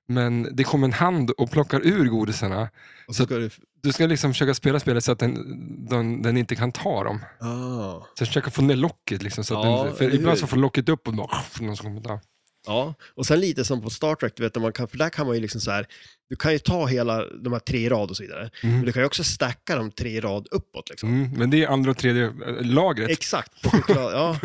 Speaker 1: men det kommer en hand och plockar ur godisarna.
Speaker 2: Och
Speaker 1: Så-
Speaker 2: så ska du...
Speaker 1: Du ska liksom försöka spela spelet så att den, den, den inte kan ta dem.
Speaker 2: Ah.
Speaker 1: Så försöka få ner locket. Liksom, så att
Speaker 2: Ja,
Speaker 1: den, för
Speaker 2: eller
Speaker 1: ibland
Speaker 2: hur?
Speaker 1: så får locket upp och bara, någon som kommer ta.
Speaker 2: Ja, och sen lite som på Star Trek, du vet, när man kan, för där kan man ju liksom så här, du kan ju ta hela de här tre i rad och så vidare, men
Speaker 1: Mm.
Speaker 2: du kan ju också stacka de tre i rad uppåt liksom.
Speaker 1: Mm. Men det är andra och tredje eh, lagret.
Speaker 2: Exakt, på
Speaker 1: <laughs>
Speaker 2: choklad, ja,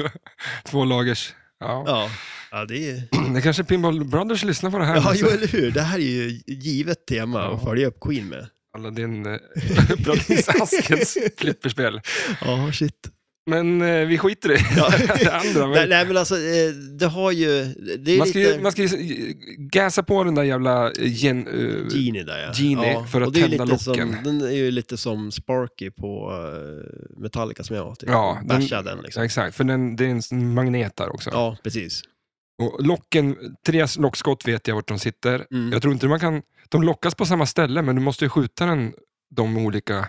Speaker 1: Två lagers. Ja.
Speaker 2: ja. ja, det är
Speaker 1: <clears throat> Det kanske Pinball Brothers lyssnar på det här.
Speaker 2: Ja,
Speaker 1: alltså.
Speaker 2: jo, eller hur. Det här är ju givet tema att
Speaker 1: Ja.
Speaker 2: följa upp Queen med.
Speaker 1: Aladdin, eh, <laughs> Brothers
Speaker 2: <laughs>
Speaker 1: Askens flipperspel.
Speaker 2: Ja, shit.
Speaker 1: Men eh, vi skiter i
Speaker 2: Ja.
Speaker 1: det <laughs> andra. Men...
Speaker 2: nej, nej, men alltså, eh, det har ju... Det är
Speaker 1: man, ska
Speaker 2: lite...
Speaker 1: ju, man ska ju gasa på den där jävla eh, gen... eh,
Speaker 2: Genie där, ja.
Speaker 1: Genie,
Speaker 2: ja.
Speaker 1: för att
Speaker 2: och det är
Speaker 1: tända
Speaker 2: lite Som,
Speaker 1: locken.
Speaker 2: den är ju lite som Sparky på eh, Metallica som jag har. Typ.
Speaker 1: Ja, den-
Speaker 2: Basha den liksom.
Speaker 1: Exakt, för den, det är en sån magnet där också.
Speaker 2: Ja, precis.
Speaker 1: Och locken, tre lockskott vet jag vart de sitter.
Speaker 2: Mm.
Speaker 1: Jag tror inte man kan... De lockas på samma ställe, men du måste ju skjuta den, de olika...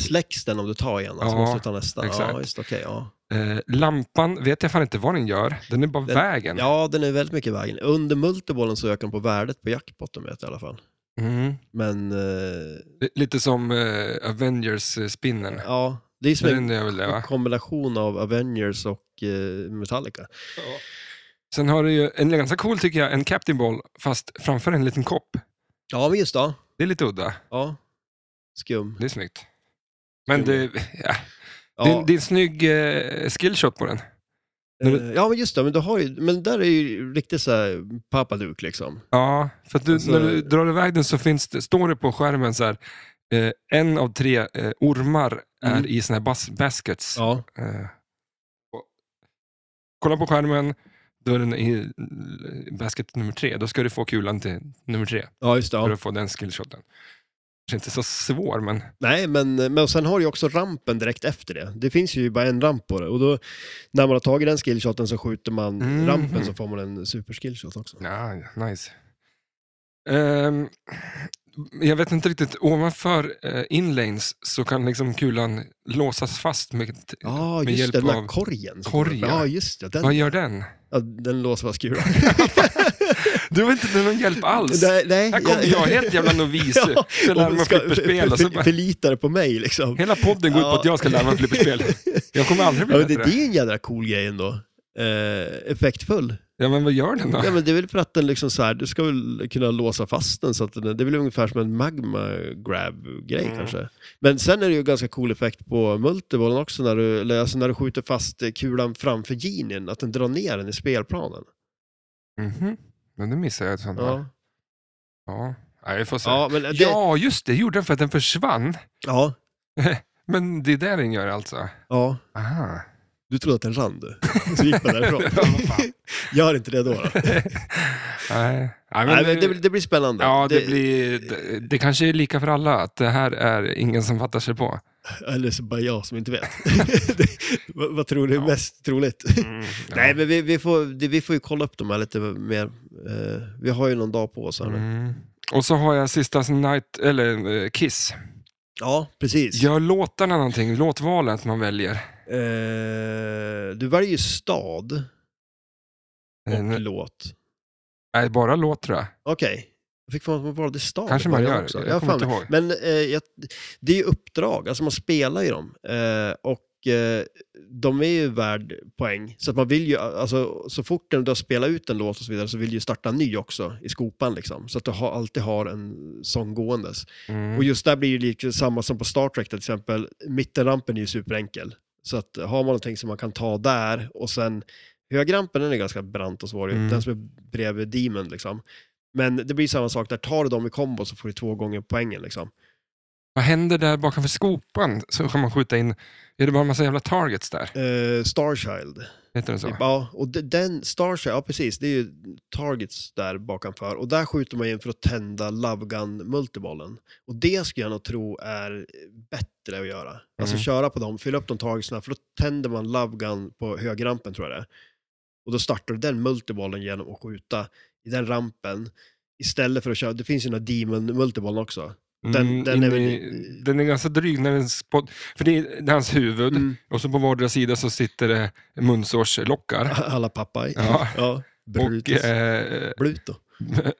Speaker 2: Släcks den om du tar igen, så
Speaker 1: Ja,
Speaker 2: måste du ta nästa.
Speaker 1: exakt.
Speaker 2: Ja, just, okay, ja.
Speaker 1: Eh, lampan vet jag fan inte vad den gör. Den är bara
Speaker 2: Den-
Speaker 1: vägen.
Speaker 2: ja, den är väldigt mycket i vägen. Under multibollen så ökar den på värdet på jackpotten vet jag i alla fall.
Speaker 1: Mm.
Speaker 2: Men eh,
Speaker 1: L- Lite som eh, Avengers-spinnen.
Speaker 2: ja, det är som en
Speaker 1: Den är väl det,
Speaker 2: <laughs>
Speaker 1: va?
Speaker 2: kombination av Avengers och eh, Metallica.
Speaker 1: Sen har du ju en ganska cool, tycker jag, en Captain Ball, fast framför en liten kopp.
Speaker 2: Ja, men just det.
Speaker 1: Det är lite udda.
Speaker 2: Ja. Skum.
Speaker 1: Det är snyggt. Men det, ja,
Speaker 2: Ja,
Speaker 1: Det, är, det är en snygg eh, skillshot på den.
Speaker 2: eh, ja, men just det. Men, du har ju, men där är ju riktigt så här Papaduk liksom.
Speaker 1: Ja, för att du,
Speaker 2: Alltså-
Speaker 1: när du drar iväg den så finns det, står det på skärmen så här, eh, en av tre eh, ormar är
Speaker 2: Mm.
Speaker 1: i såna här bas, baskets.
Speaker 2: Ja.
Speaker 1: Eh, och, kolla på skärmen, då är den i eh, basket nummer tre. Då ska du få kulan till nummer tre
Speaker 2: Ja, just det.
Speaker 1: för
Speaker 2: Ja.
Speaker 1: att få den skillshoten. Kanske inte så svår, men
Speaker 2: Nej, men, men sen har du ju också rampen direkt efter det. Det finns ju bara en ramp på det. Och då, när man har tagit den skillshoten så skjuter man
Speaker 1: Mhm.
Speaker 2: rampen så får man en superskillshot också.
Speaker 1: ja, nice. Ehm, jag vet inte riktigt, ovanför eh, inlanes så kan liksom kulan låsas fast med ett
Speaker 2: Ja,
Speaker 1: Med
Speaker 2: Ah, just
Speaker 1: hjälp
Speaker 2: det. Den där
Speaker 1: av
Speaker 2: korgen. som-
Speaker 1: korg, ja.
Speaker 2: Ja, just det. Den,
Speaker 1: Vad gör den?
Speaker 2: ja, den låser vara skuran.
Speaker 1: <laughs> Du har inte någon hjälp alls.
Speaker 2: Nej, nej,
Speaker 1: Här kommer jag, helt jävla novis.
Speaker 2: <laughs> Ja,
Speaker 1: Ska lära
Speaker 2: och
Speaker 1: mig
Speaker 2: ska-
Speaker 1: flipperspel. Och så
Speaker 2: för-
Speaker 1: bara,
Speaker 2: Förlita det på mig liksom.
Speaker 1: hela podden går ut på att jag ska lära mig flipperspel. Jag kommer aldrig
Speaker 2: Ja,
Speaker 1: bli
Speaker 2: men det,
Speaker 1: bättre.
Speaker 2: det är en jädra cool grej ändå. Eh, effektfull.
Speaker 1: Ja, men vad gör den då?
Speaker 2: Ja, men det är väl för att den liksom så här, du ska väl kunna låsa fast den så att den, det är väl ungefär som en magma grab-grej
Speaker 1: Mm.
Speaker 2: kanske. Men sen är det ju ganska cool effekt på multibollen också när du, eller alltså när du skjuter fast eh, kulan framför ginen, att den drar ner den i spelplanen.
Speaker 1: Mhm. Men det missade jag. ett sånt där.
Speaker 2: Ja,
Speaker 1: Ja. Ja, vi får se.
Speaker 2: ja men det, ja.
Speaker 1: Ja, just det. gjorde den för att den försvann.
Speaker 2: ja,
Speaker 1: Men det är det den gör alltså. Aha.
Speaker 2: Du trodde att den rann du, så gick man
Speaker 1: <laughs>
Speaker 2: därifrån.
Speaker 1: Ja, vad fan.
Speaker 2: Gör inte det då. då.
Speaker 1: Nej. Ja,
Speaker 2: Nej, men det, det blir spännande.
Speaker 1: Ja, det, blir, det, det kanske är lika för alla, att det här är ingen som fattar sig på.
Speaker 2: Eller så bara jag som inte <laughs> vet. det, vad, vad tror du är
Speaker 1: Ja.
Speaker 2: mest troligt?
Speaker 1: Ja.
Speaker 2: <laughs> <laughs> Nej, men vi, vi, får, det, vi får ju kolla upp de här lite mer. Eh, vi har ju någon dag på oss här nu.
Speaker 1: Mm. Och så har jag sista som night, eller eh, Kiss.
Speaker 2: Ja, precis.
Speaker 1: Gör låtarna någonting, låtvalet man väljer.
Speaker 2: Eh, du väljer ju stad och
Speaker 1: Eh, n-
Speaker 2: låt.
Speaker 1: Nej, bara låt tror jag.
Speaker 2: Okej. Jag fick för mig att man valde stad.
Speaker 1: Kanske
Speaker 2: i
Speaker 1: man
Speaker 2: början
Speaker 1: gör.
Speaker 2: också.
Speaker 1: Jag
Speaker 2: har
Speaker 1: kommer
Speaker 2: för mig.
Speaker 1: inte
Speaker 2: Men eh, jag, det är ju uppdrag, alltså man spelar ju dem. Eh, och eh, de är ju värd poäng. Så att man vill ju, alltså, så fort du har spelat ut en låt och så vidare så vill du ju starta en ny också i skopan liksom. Så att du har, alltid har en sång gåendes.
Speaker 1: Mm.
Speaker 2: Och just där blir det liksom samma som på Star Trek till exempel. Mittenrampen är ju superenkel. Så att har man någonting som man kan ta där och sen högrampen den är ganska brant och svår.
Speaker 1: Mm.
Speaker 2: Den som är bredvid Demon liksom. Men det blir samma sak där. Tar du dem i kombo så får du två gånger poängen liksom.
Speaker 1: Vad händer där bakom skopan? Så kan man skjuta in... Är det bara en massa jävla targets där?
Speaker 2: Eh, Starchild.
Speaker 1: Heter den så?
Speaker 2: Typ, ja, och de- den Starship, ja precis, det är ju targets där bakanför. Och där skjuter man in för att tända Love Gun multibollen. Och det skulle jag nog tro är bättre att göra. Alltså
Speaker 1: Mm.
Speaker 2: köra på dem, fylla upp de targetsna, för då tänder man Love Gun på högerrampen tror jag det är. Och då startar du den multibollen genom att skjuta i den rampen. Istället för att köra, det finns ju den här Demon multibollen också. den-
Speaker 1: Mm,
Speaker 2: den är
Speaker 1: inne
Speaker 2: väl-
Speaker 1: i, den är ganska dryg. När den spot, för det är, det är hans huvud
Speaker 2: Mm.
Speaker 1: och så på vardera sida så sitter det munsårslockar.
Speaker 2: <laughs> Alla pappa.
Speaker 1: Ja.
Speaker 2: ja.
Speaker 1: Och
Speaker 2: Brutus.
Speaker 1: eh, <laughs>
Speaker 2: Bluto.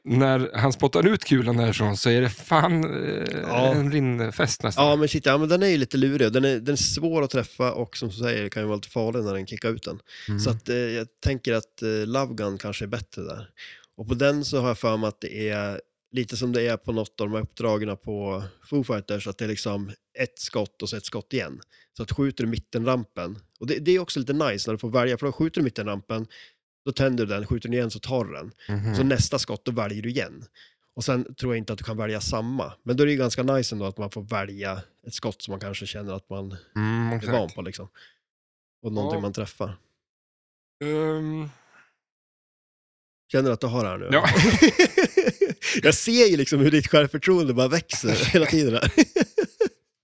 Speaker 1: när han spottar ut kulan därifrån så är det fan eh,
Speaker 2: Ja.
Speaker 1: en rinnfest nästan.
Speaker 2: Ja, men shit, ja, men den är ju lite lurig. Den är, den är svår att träffa och som du säger, kan ju vara lite farlig när den kickar ut den.
Speaker 1: Mm.
Speaker 2: Så att, eh, jag tänker att eh, Love Gun kanske är bättre där. Och på den så har jag för mig att det är lite som det är på något av de här uppdragen på Foo Fighters, att det är liksom ett skott och så ett skott igen. Så att skjuter du mittenrampen, och det, det är också lite nice när du får välja, för då skjuter du mittenrampen, då tänder du den, skjuter du igen så tar du den.
Speaker 1: Mhm.
Speaker 2: Så nästa skott, då väljer du igen. Och sen tror jag inte att du kan välja samma. Men då är det ju ganska nice ändå att man får välja ett skott som man kanske känner att man
Speaker 1: Mm,
Speaker 2: är
Speaker 1: exakt.
Speaker 2: van på. Liksom. Och någonting
Speaker 1: Ja.
Speaker 2: man träffar.
Speaker 1: Ehm,
Speaker 2: Känner du att du har det här nu?
Speaker 1: Ja.
Speaker 2: <laughs> jag ser ju liksom hur ditt självförtroende bara
Speaker 1: <laughs>
Speaker 2: växer hela tiden. Här. <laughs>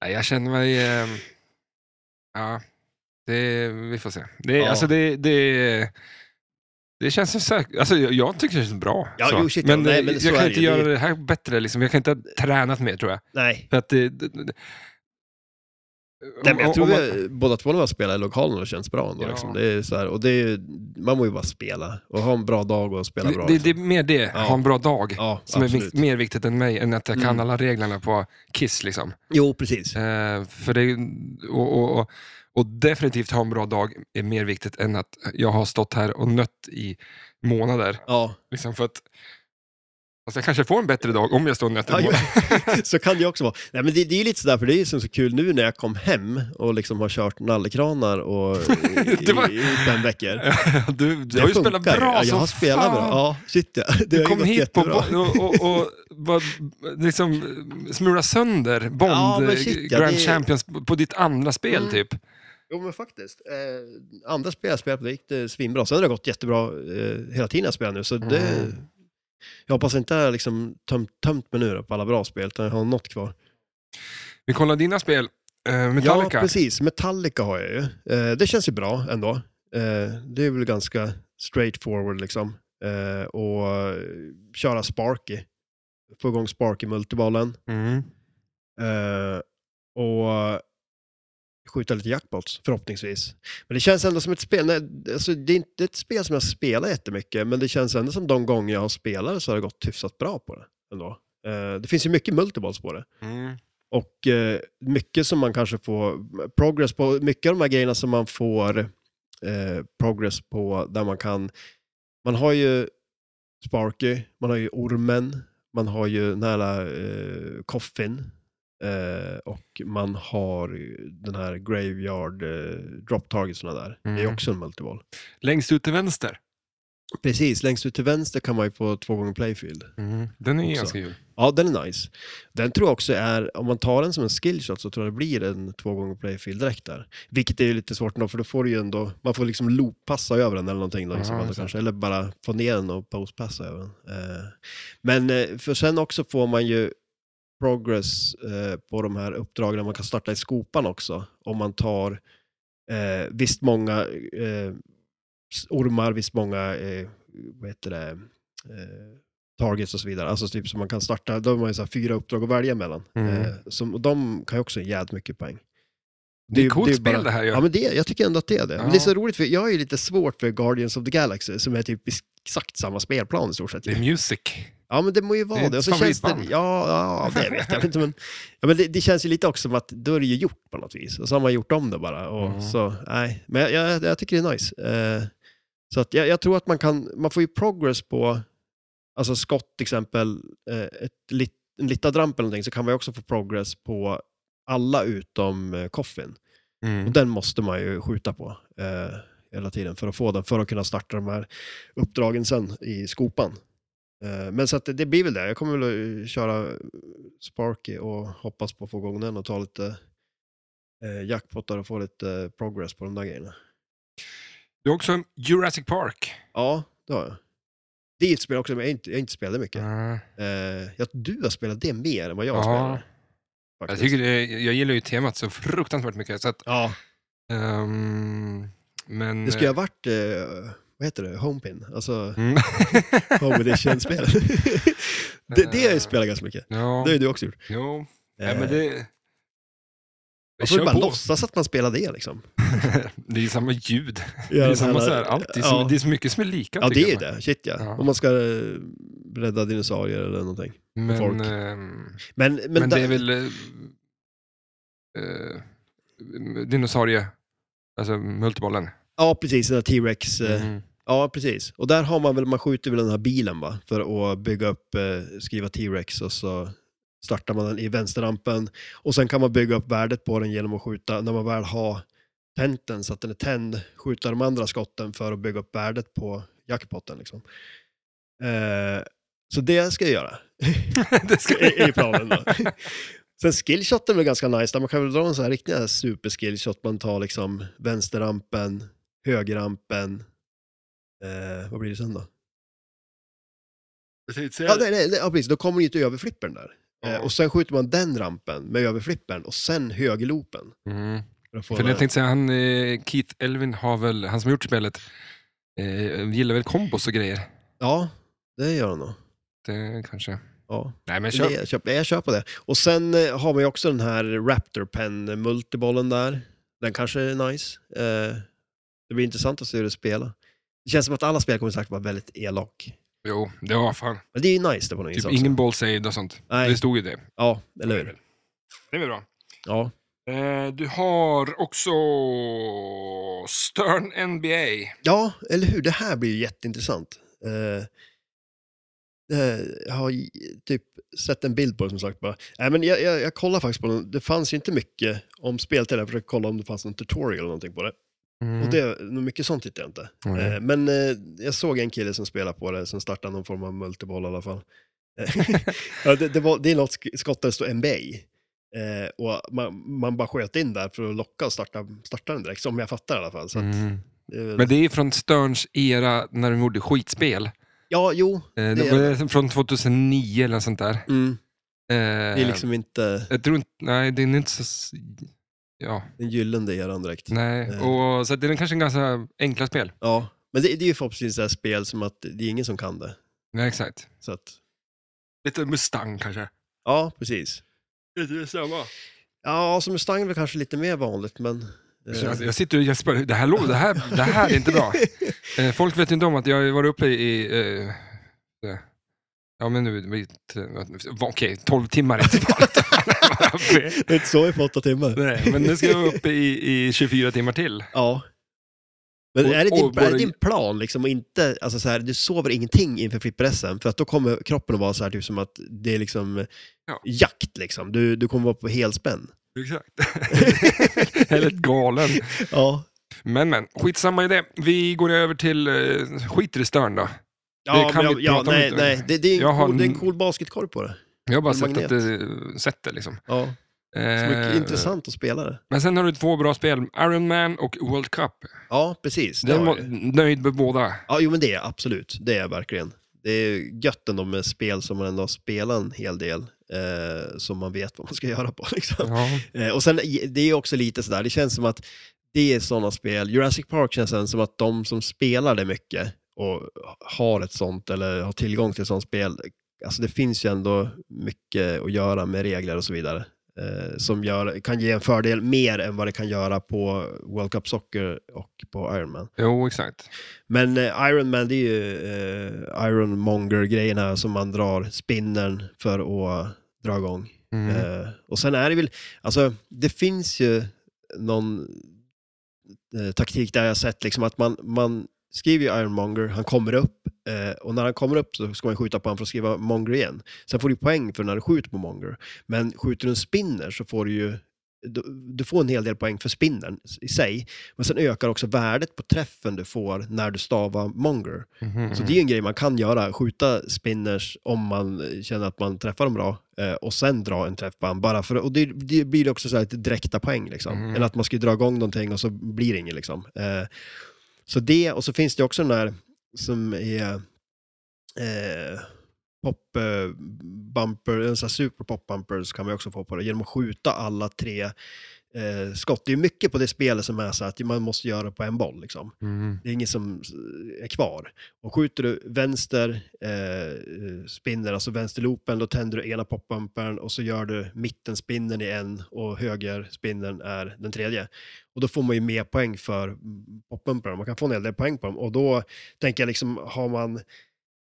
Speaker 1: nej, jag känner mig... ehm, ja, det, vi får se. Det,
Speaker 2: Ja.
Speaker 1: alltså, det, det, det känns så säkert. Alltså, jag, jag tycker det känns bra.
Speaker 2: Ja,
Speaker 1: så.
Speaker 2: jo, shit, ja.
Speaker 1: men
Speaker 2: Nej,
Speaker 1: eh,
Speaker 2: men så
Speaker 1: jag
Speaker 2: är
Speaker 1: kan
Speaker 2: det
Speaker 1: inte
Speaker 2: ju.
Speaker 1: göra
Speaker 2: Det-
Speaker 1: det här bättre. Liksom. Jag kan inte ha tränat mer tror jag.
Speaker 2: Nej.
Speaker 1: För att det, det, det,
Speaker 2: Nej, men jag tror
Speaker 1: om man-
Speaker 2: vi, båda två när man spelar i lokalen och det känns bra ändå.
Speaker 1: Ja.
Speaker 2: Liksom. Det är så här, och det är ju, man må ju bara spela och ha en bra dag och spela bra.
Speaker 1: det, det är
Speaker 2: liksom.
Speaker 1: mer det, ha en bra dag,
Speaker 2: ja,
Speaker 1: som är
Speaker 2: absolut.
Speaker 1: vikt, mer viktigt än mig, än att jag kan
Speaker 2: Mm.
Speaker 1: alla reglerna på Kiss. Liksom.
Speaker 2: Jo, precis.
Speaker 1: Eh, för det, och, och, och, och definitivt ha en bra dag är mer viktigt än att jag har stått här och nött i månader.
Speaker 2: Ja.
Speaker 1: Liksom för att, alltså jag kanske får en bättre dag om jag står och nöter
Speaker 2: Ja,
Speaker 1: i
Speaker 2: jo.
Speaker 1: månader.
Speaker 2: så kan det ju också vara. Nej, men det, det är ju lite sådär, för det är ju som så kul nu när jag kom hem och liksom har kört
Speaker 1: <laughs>
Speaker 2: nallekranar och, i,
Speaker 1: Det var-
Speaker 2: i fem veckor.
Speaker 1: <laughs> du, du
Speaker 2: Det
Speaker 1: har ju
Speaker 2: funkar
Speaker 1: spelat bra
Speaker 2: ja,
Speaker 1: som
Speaker 2: jag har spelat
Speaker 1: fan.
Speaker 2: bra. Ja, shit ja. Det har
Speaker 1: Du
Speaker 2: ju
Speaker 1: kom
Speaker 2: gått
Speaker 1: hit på
Speaker 2: jättebra.
Speaker 1: bo- och, och, och bara, liksom smula sönder Bond
Speaker 2: Ja, men
Speaker 1: eh,
Speaker 2: shit, ja,
Speaker 1: Grand
Speaker 2: det-
Speaker 1: Champions på ditt andra spel
Speaker 2: Mm.
Speaker 1: typ.
Speaker 2: Jo men faktiskt. Eh, andra spel jag spelat på, det gick det svinbra. Sen har det gått jättebra eh, hela tiden jag spelar nu. Så det,
Speaker 1: Mm.
Speaker 2: Jag hoppas inte jag har liksom tömt, tömt mig nu då på alla bra spel, utan jag har något kvar.
Speaker 1: Vi kollar dina spel, eh, Metallica.
Speaker 2: Ja, precis. Metallica har jag ju. Eh, det känns ju bra ändå. Eh, det är väl ganska straightforward liksom. Eh, och eh, köra Sparky. Få igång Sparky-multibollen.
Speaker 1: mm.
Speaker 2: Eh, och skjuta lite jackpots förhoppningsvis. Men det känns ändå som ett spel, nej, alltså, det är inte ett spel som jag spelar jättemycket, men det känns ändå som de gånger jag har spelat så har det gått hyfsat bra på det. Ändå. Eh, det finns ju mycket multiballs på det.
Speaker 1: Mm.
Speaker 2: Och eh, mycket som man kanske får progress på, mycket av de här grejerna som man får eh, progress på där man kan, man har ju Sparky, man har ju ormen, man har ju den här eh, coffin eh, och man har den här graveyard eh, drop target såna där. Det är
Speaker 1: Mm.
Speaker 2: också en multiboll.
Speaker 1: Längst ut till vänster.
Speaker 2: Precis, längst ut till vänster kan man ju få två gånger playfield.
Speaker 1: Den är
Speaker 2: Mm. Också.
Speaker 1: ganska kul.
Speaker 2: Ja, den är nice. Den tror jag också är, om man tar den som en skillshot så tror jag det blir en två gånger playfield direkt där. Vilket är ju lite svårt ändå, för då får du ju ändå, man får liksom looppassa över den eller någonting då, liksom,
Speaker 1: Ja,
Speaker 2: ändå
Speaker 1: exakt.
Speaker 2: kanske. Eller bara få ner den och postpassa över den. Eh, Men eh, för sen också får man ju progress eh, på de här uppdragen där man kan starta i skopan också. Om man tar eh, visst många eh, s- ormar, visst många eh, vad heter det, eh, targets och så vidare. Alltså typ som man kan starta, då har man ju så här fyra uppdrag att välja mellan.
Speaker 1: Mm.
Speaker 2: Eh, som, och de kan ju också ge jävligt mycket poäng.
Speaker 1: Det är
Speaker 2: ju-
Speaker 1: ett coolt
Speaker 2: ju
Speaker 1: spel
Speaker 2: bara-
Speaker 1: det här ju.
Speaker 2: Ja, men det, jag tycker ändå att det är det. Men
Speaker 1: Ja.
Speaker 2: det är så roligt, för jag är ju lite svårt för Guardians of the Galaxy, som är typ exakt samma spelplan i stort sett.
Speaker 1: Det är music.
Speaker 2: Ja, men det må ju vara
Speaker 1: Det är
Speaker 2: det.
Speaker 1: ett
Speaker 2: Och så känns det
Speaker 1: favoritband.
Speaker 2: ja, ja, det vet jag inte. Men, ja, men det, det känns ju lite också som att då är det ju gjort på något vis. Och så har man gjort om det bara. Och
Speaker 1: Mm.
Speaker 2: så, nej. Men jag, jag, jag tycker det är nice. Eh, så att jag, jag tror att man kan, man får ju progress på, alltså skott till exempel, eh, ett lit, en littadramp eller någonting, så kan man ju också få progress på alla utom eh, coffin.
Speaker 1: Mm.
Speaker 2: Och den måste man ju skjuta på eh, hela tiden för att få den, för att kunna starta de här uppdragen sen i skopan. Eh, men så att det, det blir väl det. Jag kommer väl att eh, köra Sparky och hoppas på att få igång den och ta lite eh, jackpottar och få lite eh, progress på de där grejerna.
Speaker 1: Du har också Jurassic Park.
Speaker 2: Ja, det har jag. Det är ett spel också, men jag har inte, jag har inte spelat mycket.
Speaker 1: Ja.
Speaker 2: Eh, jag, du har spelat det mer än vad jag
Speaker 1: Mm. Ja.
Speaker 2: har spelat.
Speaker 1: Jag,
Speaker 2: faktiskt.
Speaker 1: tycker det, jag gillar ju temat så fruktansvärt mycket. Så att,
Speaker 2: Ja,
Speaker 1: ehm, men...
Speaker 2: det skulle ha varit, eh, vad heter det, Homepin? Alltså
Speaker 1: Mm.
Speaker 2: <laughs> Home
Speaker 1: <laughs>
Speaker 2: Edition-spel. det, det har jag spelat ganska mycket.
Speaker 1: eh, Ja,
Speaker 2: Det har ju du också gjort.
Speaker 1: jo.
Speaker 2: Eh,
Speaker 1: Ja, men det...
Speaker 2: och så
Speaker 1: Kör
Speaker 2: bara
Speaker 1: på.
Speaker 2: låtsas att man spelar det liksom.
Speaker 1: <laughs> Det är ju samma ljud.
Speaker 2: Ja,
Speaker 1: <laughs> det är
Speaker 2: den
Speaker 1: samma
Speaker 2: här-
Speaker 1: så här, allt. Det är, så,
Speaker 2: ja.
Speaker 1: det är så mycket som är lika.
Speaker 2: Ja,
Speaker 1: tycker
Speaker 2: det är ju
Speaker 1: jag.
Speaker 2: det. Shit ja.
Speaker 1: Ja.
Speaker 2: Om man ska eh, rädda dinosaurier eller någonting.
Speaker 1: Men,
Speaker 2: folk.
Speaker 1: ehm,
Speaker 2: Men, men,
Speaker 1: men,
Speaker 2: där-
Speaker 1: det är väl... eh, eh, dinosaurie... Alltså multibollen.
Speaker 2: Ja, precis. Den här T-Rex. eh,
Speaker 1: Mm. <laughs>
Speaker 2: Ja, precis. Och där har man väl, man skjuter väl den här bilen va? För att bygga upp, eh, skriva T-Rex och så startar man den i vänsterrampen. Och sen kan man bygga upp värdet på den genom att skjuta, när man väl har tänt den så att den är tänd, skjuta de andra skotten för att bygga upp värdet på jackpotten liksom. Eh, så det ska jag göra
Speaker 1: det ska
Speaker 2: i, i planen <laughs> då. Sen skillshoten är väl ganska nice, där man kan väl dra en sån här riktig superskillshot. Man tar liksom vänsterrampen, högerrampen. Eh, vad blir det sen då? Ja, nej, nej, nej, ja, precis. Då kommer ju inte överflippern där. Eh, och sen skjuter man den rampen med överflippern och sen högerloopen.
Speaker 1: Mm.
Speaker 2: För att få
Speaker 1: För
Speaker 2: den-
Speaker 1: jag tänkte säga, han, eh, Keith Elvin har väl, han som har gjort spelet, eh, gillar väl kombos och grejer.
Speaker 2: Ja, det gör han nog.
Speaker 1: Det kanske...
Speaker 2: Ja,
Speaker 1: Nej, men kör.
Speaker 2: det, jag, köper, jag köper det. Och sen eh, har man ju också den här Raptor Pen eh, multibollen där. Den kanske är nice. Eh, det blir intressant att se hur det spelar. Det känns som att alla spel kommer säkert vara väldigt elak.
Speaker 1: Jo, det var fan.
Speaker 2: Men det är ju nice det på något vis
Speaker 1: Typ
Speaker 2: också.
Speaker 1: ingen boll saved och sånt. Det
Speaker 2: Nej,
Speaker 1: stod ju det.
Speaker 2: ja, eller hur?
Speaker 1: Det är väl bra.
Speaker 2: Ja.
Speaker 1: Eh, du har också Stern NBA.
Speaker 2: ja, eller hur? Det här blir ju jätteintressant. Eh, eh, jag har ju typ sett en bild på det som sagt bara. Nej, men jag, jag, jag kollar faktiskt på den. Det fanns ju inte mycket om spel till det. Jag försökte kolla om det fanns någon tutorial eller någonting på det.
Speaker 1: Mm.
Speaker 2: Och det, mycket sånt tittar jag inte. Eh, Men eh, jag såg en kille som spelade på det, som startade någon form av multiboll i alla fall. Eh,
Speaker 1: <laughs>
Speaker 2: <laughs> ja, det, det, var, det är något sk- skott där det står NBA. Eh, och man, man bara sköt in där för att locka och starta, starta den direkt, som jag fattar i alla fall. Så att,
Speaker 1: Mm.
Speaker 2: det är väl-
Speaker 1: Men det är från Sterns era när de gjorde skitspel. Eh,
Speaker 2: ja, jo.
Speaker 1: det,
Speaker 2: Det är
Speaker 1: var från 2009 eller något sånt där.
Speaker 2: Mm,
Speaker 1: Eh,
Speaker 2: det är liksom inte
Speaker 1: Jag tror inte, nej det är inte så... s- Ja,
Speaker 2: den gyllene eran direkt.
Speaker 1: nej.
Speaker 2: Eh.
Speaker 1: Och, så att det är kanske en ganska enkla spel.
Speaker 2: Ja, men det, det är ju förhoppningsvis ett spel som att det är ingen som kan det.
Speaker 1: Nej, exakt.
Speaker 2: Så att,
Speaker 1: Lite Mustang kanske.
Speaker 2: ja, precis.
Speaker 1: Lite detsamma.
Speaker 2: Ja, som Mustang är väl kanske lite mer vanligt, men... eh,
Speaker 1: Jag sitter och gäspar. Det här, lå- det, här, det här är inte
Speaker 2: <laughs>
Speaker 1: bra. Eh, Folk vet inte om att jag har varit uppe i... eh, eh, Ja, men nu... vi- va- Okej, 12 timmar är inte
Speaker 2: <laughs>
Speaker 1: <laughs> vanligt.
Speaker 2: Det är inte <laughs> så i på åtta timmar.
Speaker 1: Nej, men nu ska jag vara uppe i, i 24 timmar till.
Speaker 2: Ja. Men
Speaker 1: Och-
Speaker 2: är, det din,
Speaker 1: och bara-
Speaker 2: är det din plan liksom och inte, alltså så här, du sover ingenting inför flipper-SM? För att då kommer kroppen att vara så här, typ som att det är liksom eh,
Speaker 1: Ja.
Speaker 2: jakt liksom. Du, du kommer vara på helspänn.
Speaker 1: <laughs> Exakt. Eller galen.
Speaker 2: Ja.
Speaker 1: Men, men. Skitsamma i det. Vi går över till... eh, Skiter i Stern då.
Speaker 2: Ja,
Speaker 1: kan
Speaker 2: men
Speaker 1: vi
Speaker 2: jag, ja,
Speaker 1: prata om
Speaker 2: nej,
Speaker 1: inte.
Speaker 2: nej. Det, det, är
Speaker 1: Jag
Speaker 2: en
Speaker 1: har
Speaker 2: cool, det är en
Speaker 1: en-
Speaker 2: cool basketkorg på det.
Speaker 1: Jag har bara
Speaker 2: En
Speaker 1: sett att
Speaker 2: magnet.
Speaker 1: det sätter liksom.
Speaker 2: Ja, så mycket
Speaker 1: Eh,
Speaker 2: intressant att spela det.
Speaker 1: Men sen har du två bra spel, Iron Man och World Cup.
Speaker 2: Ja, precis. Det
Speaker 1: Den
Speaker 2: har
Speaker 1: var
Speaker 2: jag ju.
Speaker 1: nöjd med båda.
Speaker 2: Ja, jo men det är jag, absolut. Det är jag verkligen. Det är gött ändå med spel som man ändå har spelat en hel del, eh, som man vet vad man ska göra på <laughs> liksom.
Speaker 1: Ja.
Speaker 2: Eh, och sen, det är också lite sådär, det känns som att det är sådana spel, Jurassic Park känns sen som att de som spelar det mycket och har ett sånt eller har tillgång till ett sånt spel, alltså det finns ju ändå mycket att göra med regler och så vidare. Eh, som gör, kan ge en fördel mer än vad det kan göra på World Cup Soccer och på Iron Man.
Speaker 1: Jo, exakt.
Speaker 2: Men eh, Iron Man, det är ju eh, Iron Monger-grejerna som man drar spinnern för att dra igång.
Speaker 1: Mm.
Speaker 2: Eh, och sen är det väl, alltså det finns ju någon eh, taktik där jag har sett liksom att man, man skriver ju Ironmonger, han kommer upp eh, och när han kommer upp så ska man skjuta på honom för att skriva Monger igen. Sen får du poäng för när du skjuter på Monger, men skjuter du en spinner så får du ju du, du får en hel del poäng för spinnen i sig, men sen ökar också värdet på träffen du får när du stavar monger.
Speaker 1: Mm-hmm,
Speaker 2: Så
Speaker 1: Mhm.
Speaker 2: det är ju en grej man kan göra, skjuta spinners om man känner att man träffar dem bra eh, och sen dra en träff på han bara för, och det, det blir också så här lite direkta poäng liksom.
Speaker 1: Mm.
Speaker 2: Än att man ska dra igång någonting och så blir det inget liksom. Eh, så det, och så finns det också den där som är eh, pop eh, bumper, en sån här super pop bumpers kan man ju också få på det, genom att skjuta alla tre eh, skott. Det är ju mycket på det spelet som är så att man måste göra det på en boll liksom.
Speaker 1: Mm.
Speaker 2: Det är inget som eh, är kvar. Och skjuter du vänster eh, spinner, alltså vänsterloopen, då tänder du ena popbumpern och så gör du mittenspinnen i en och höger spinnen är den tredje. Och då får man ju mer poäng för popbumprarna. Man kan få en hel del poäng på dem. Och då tänker jag liksom, har man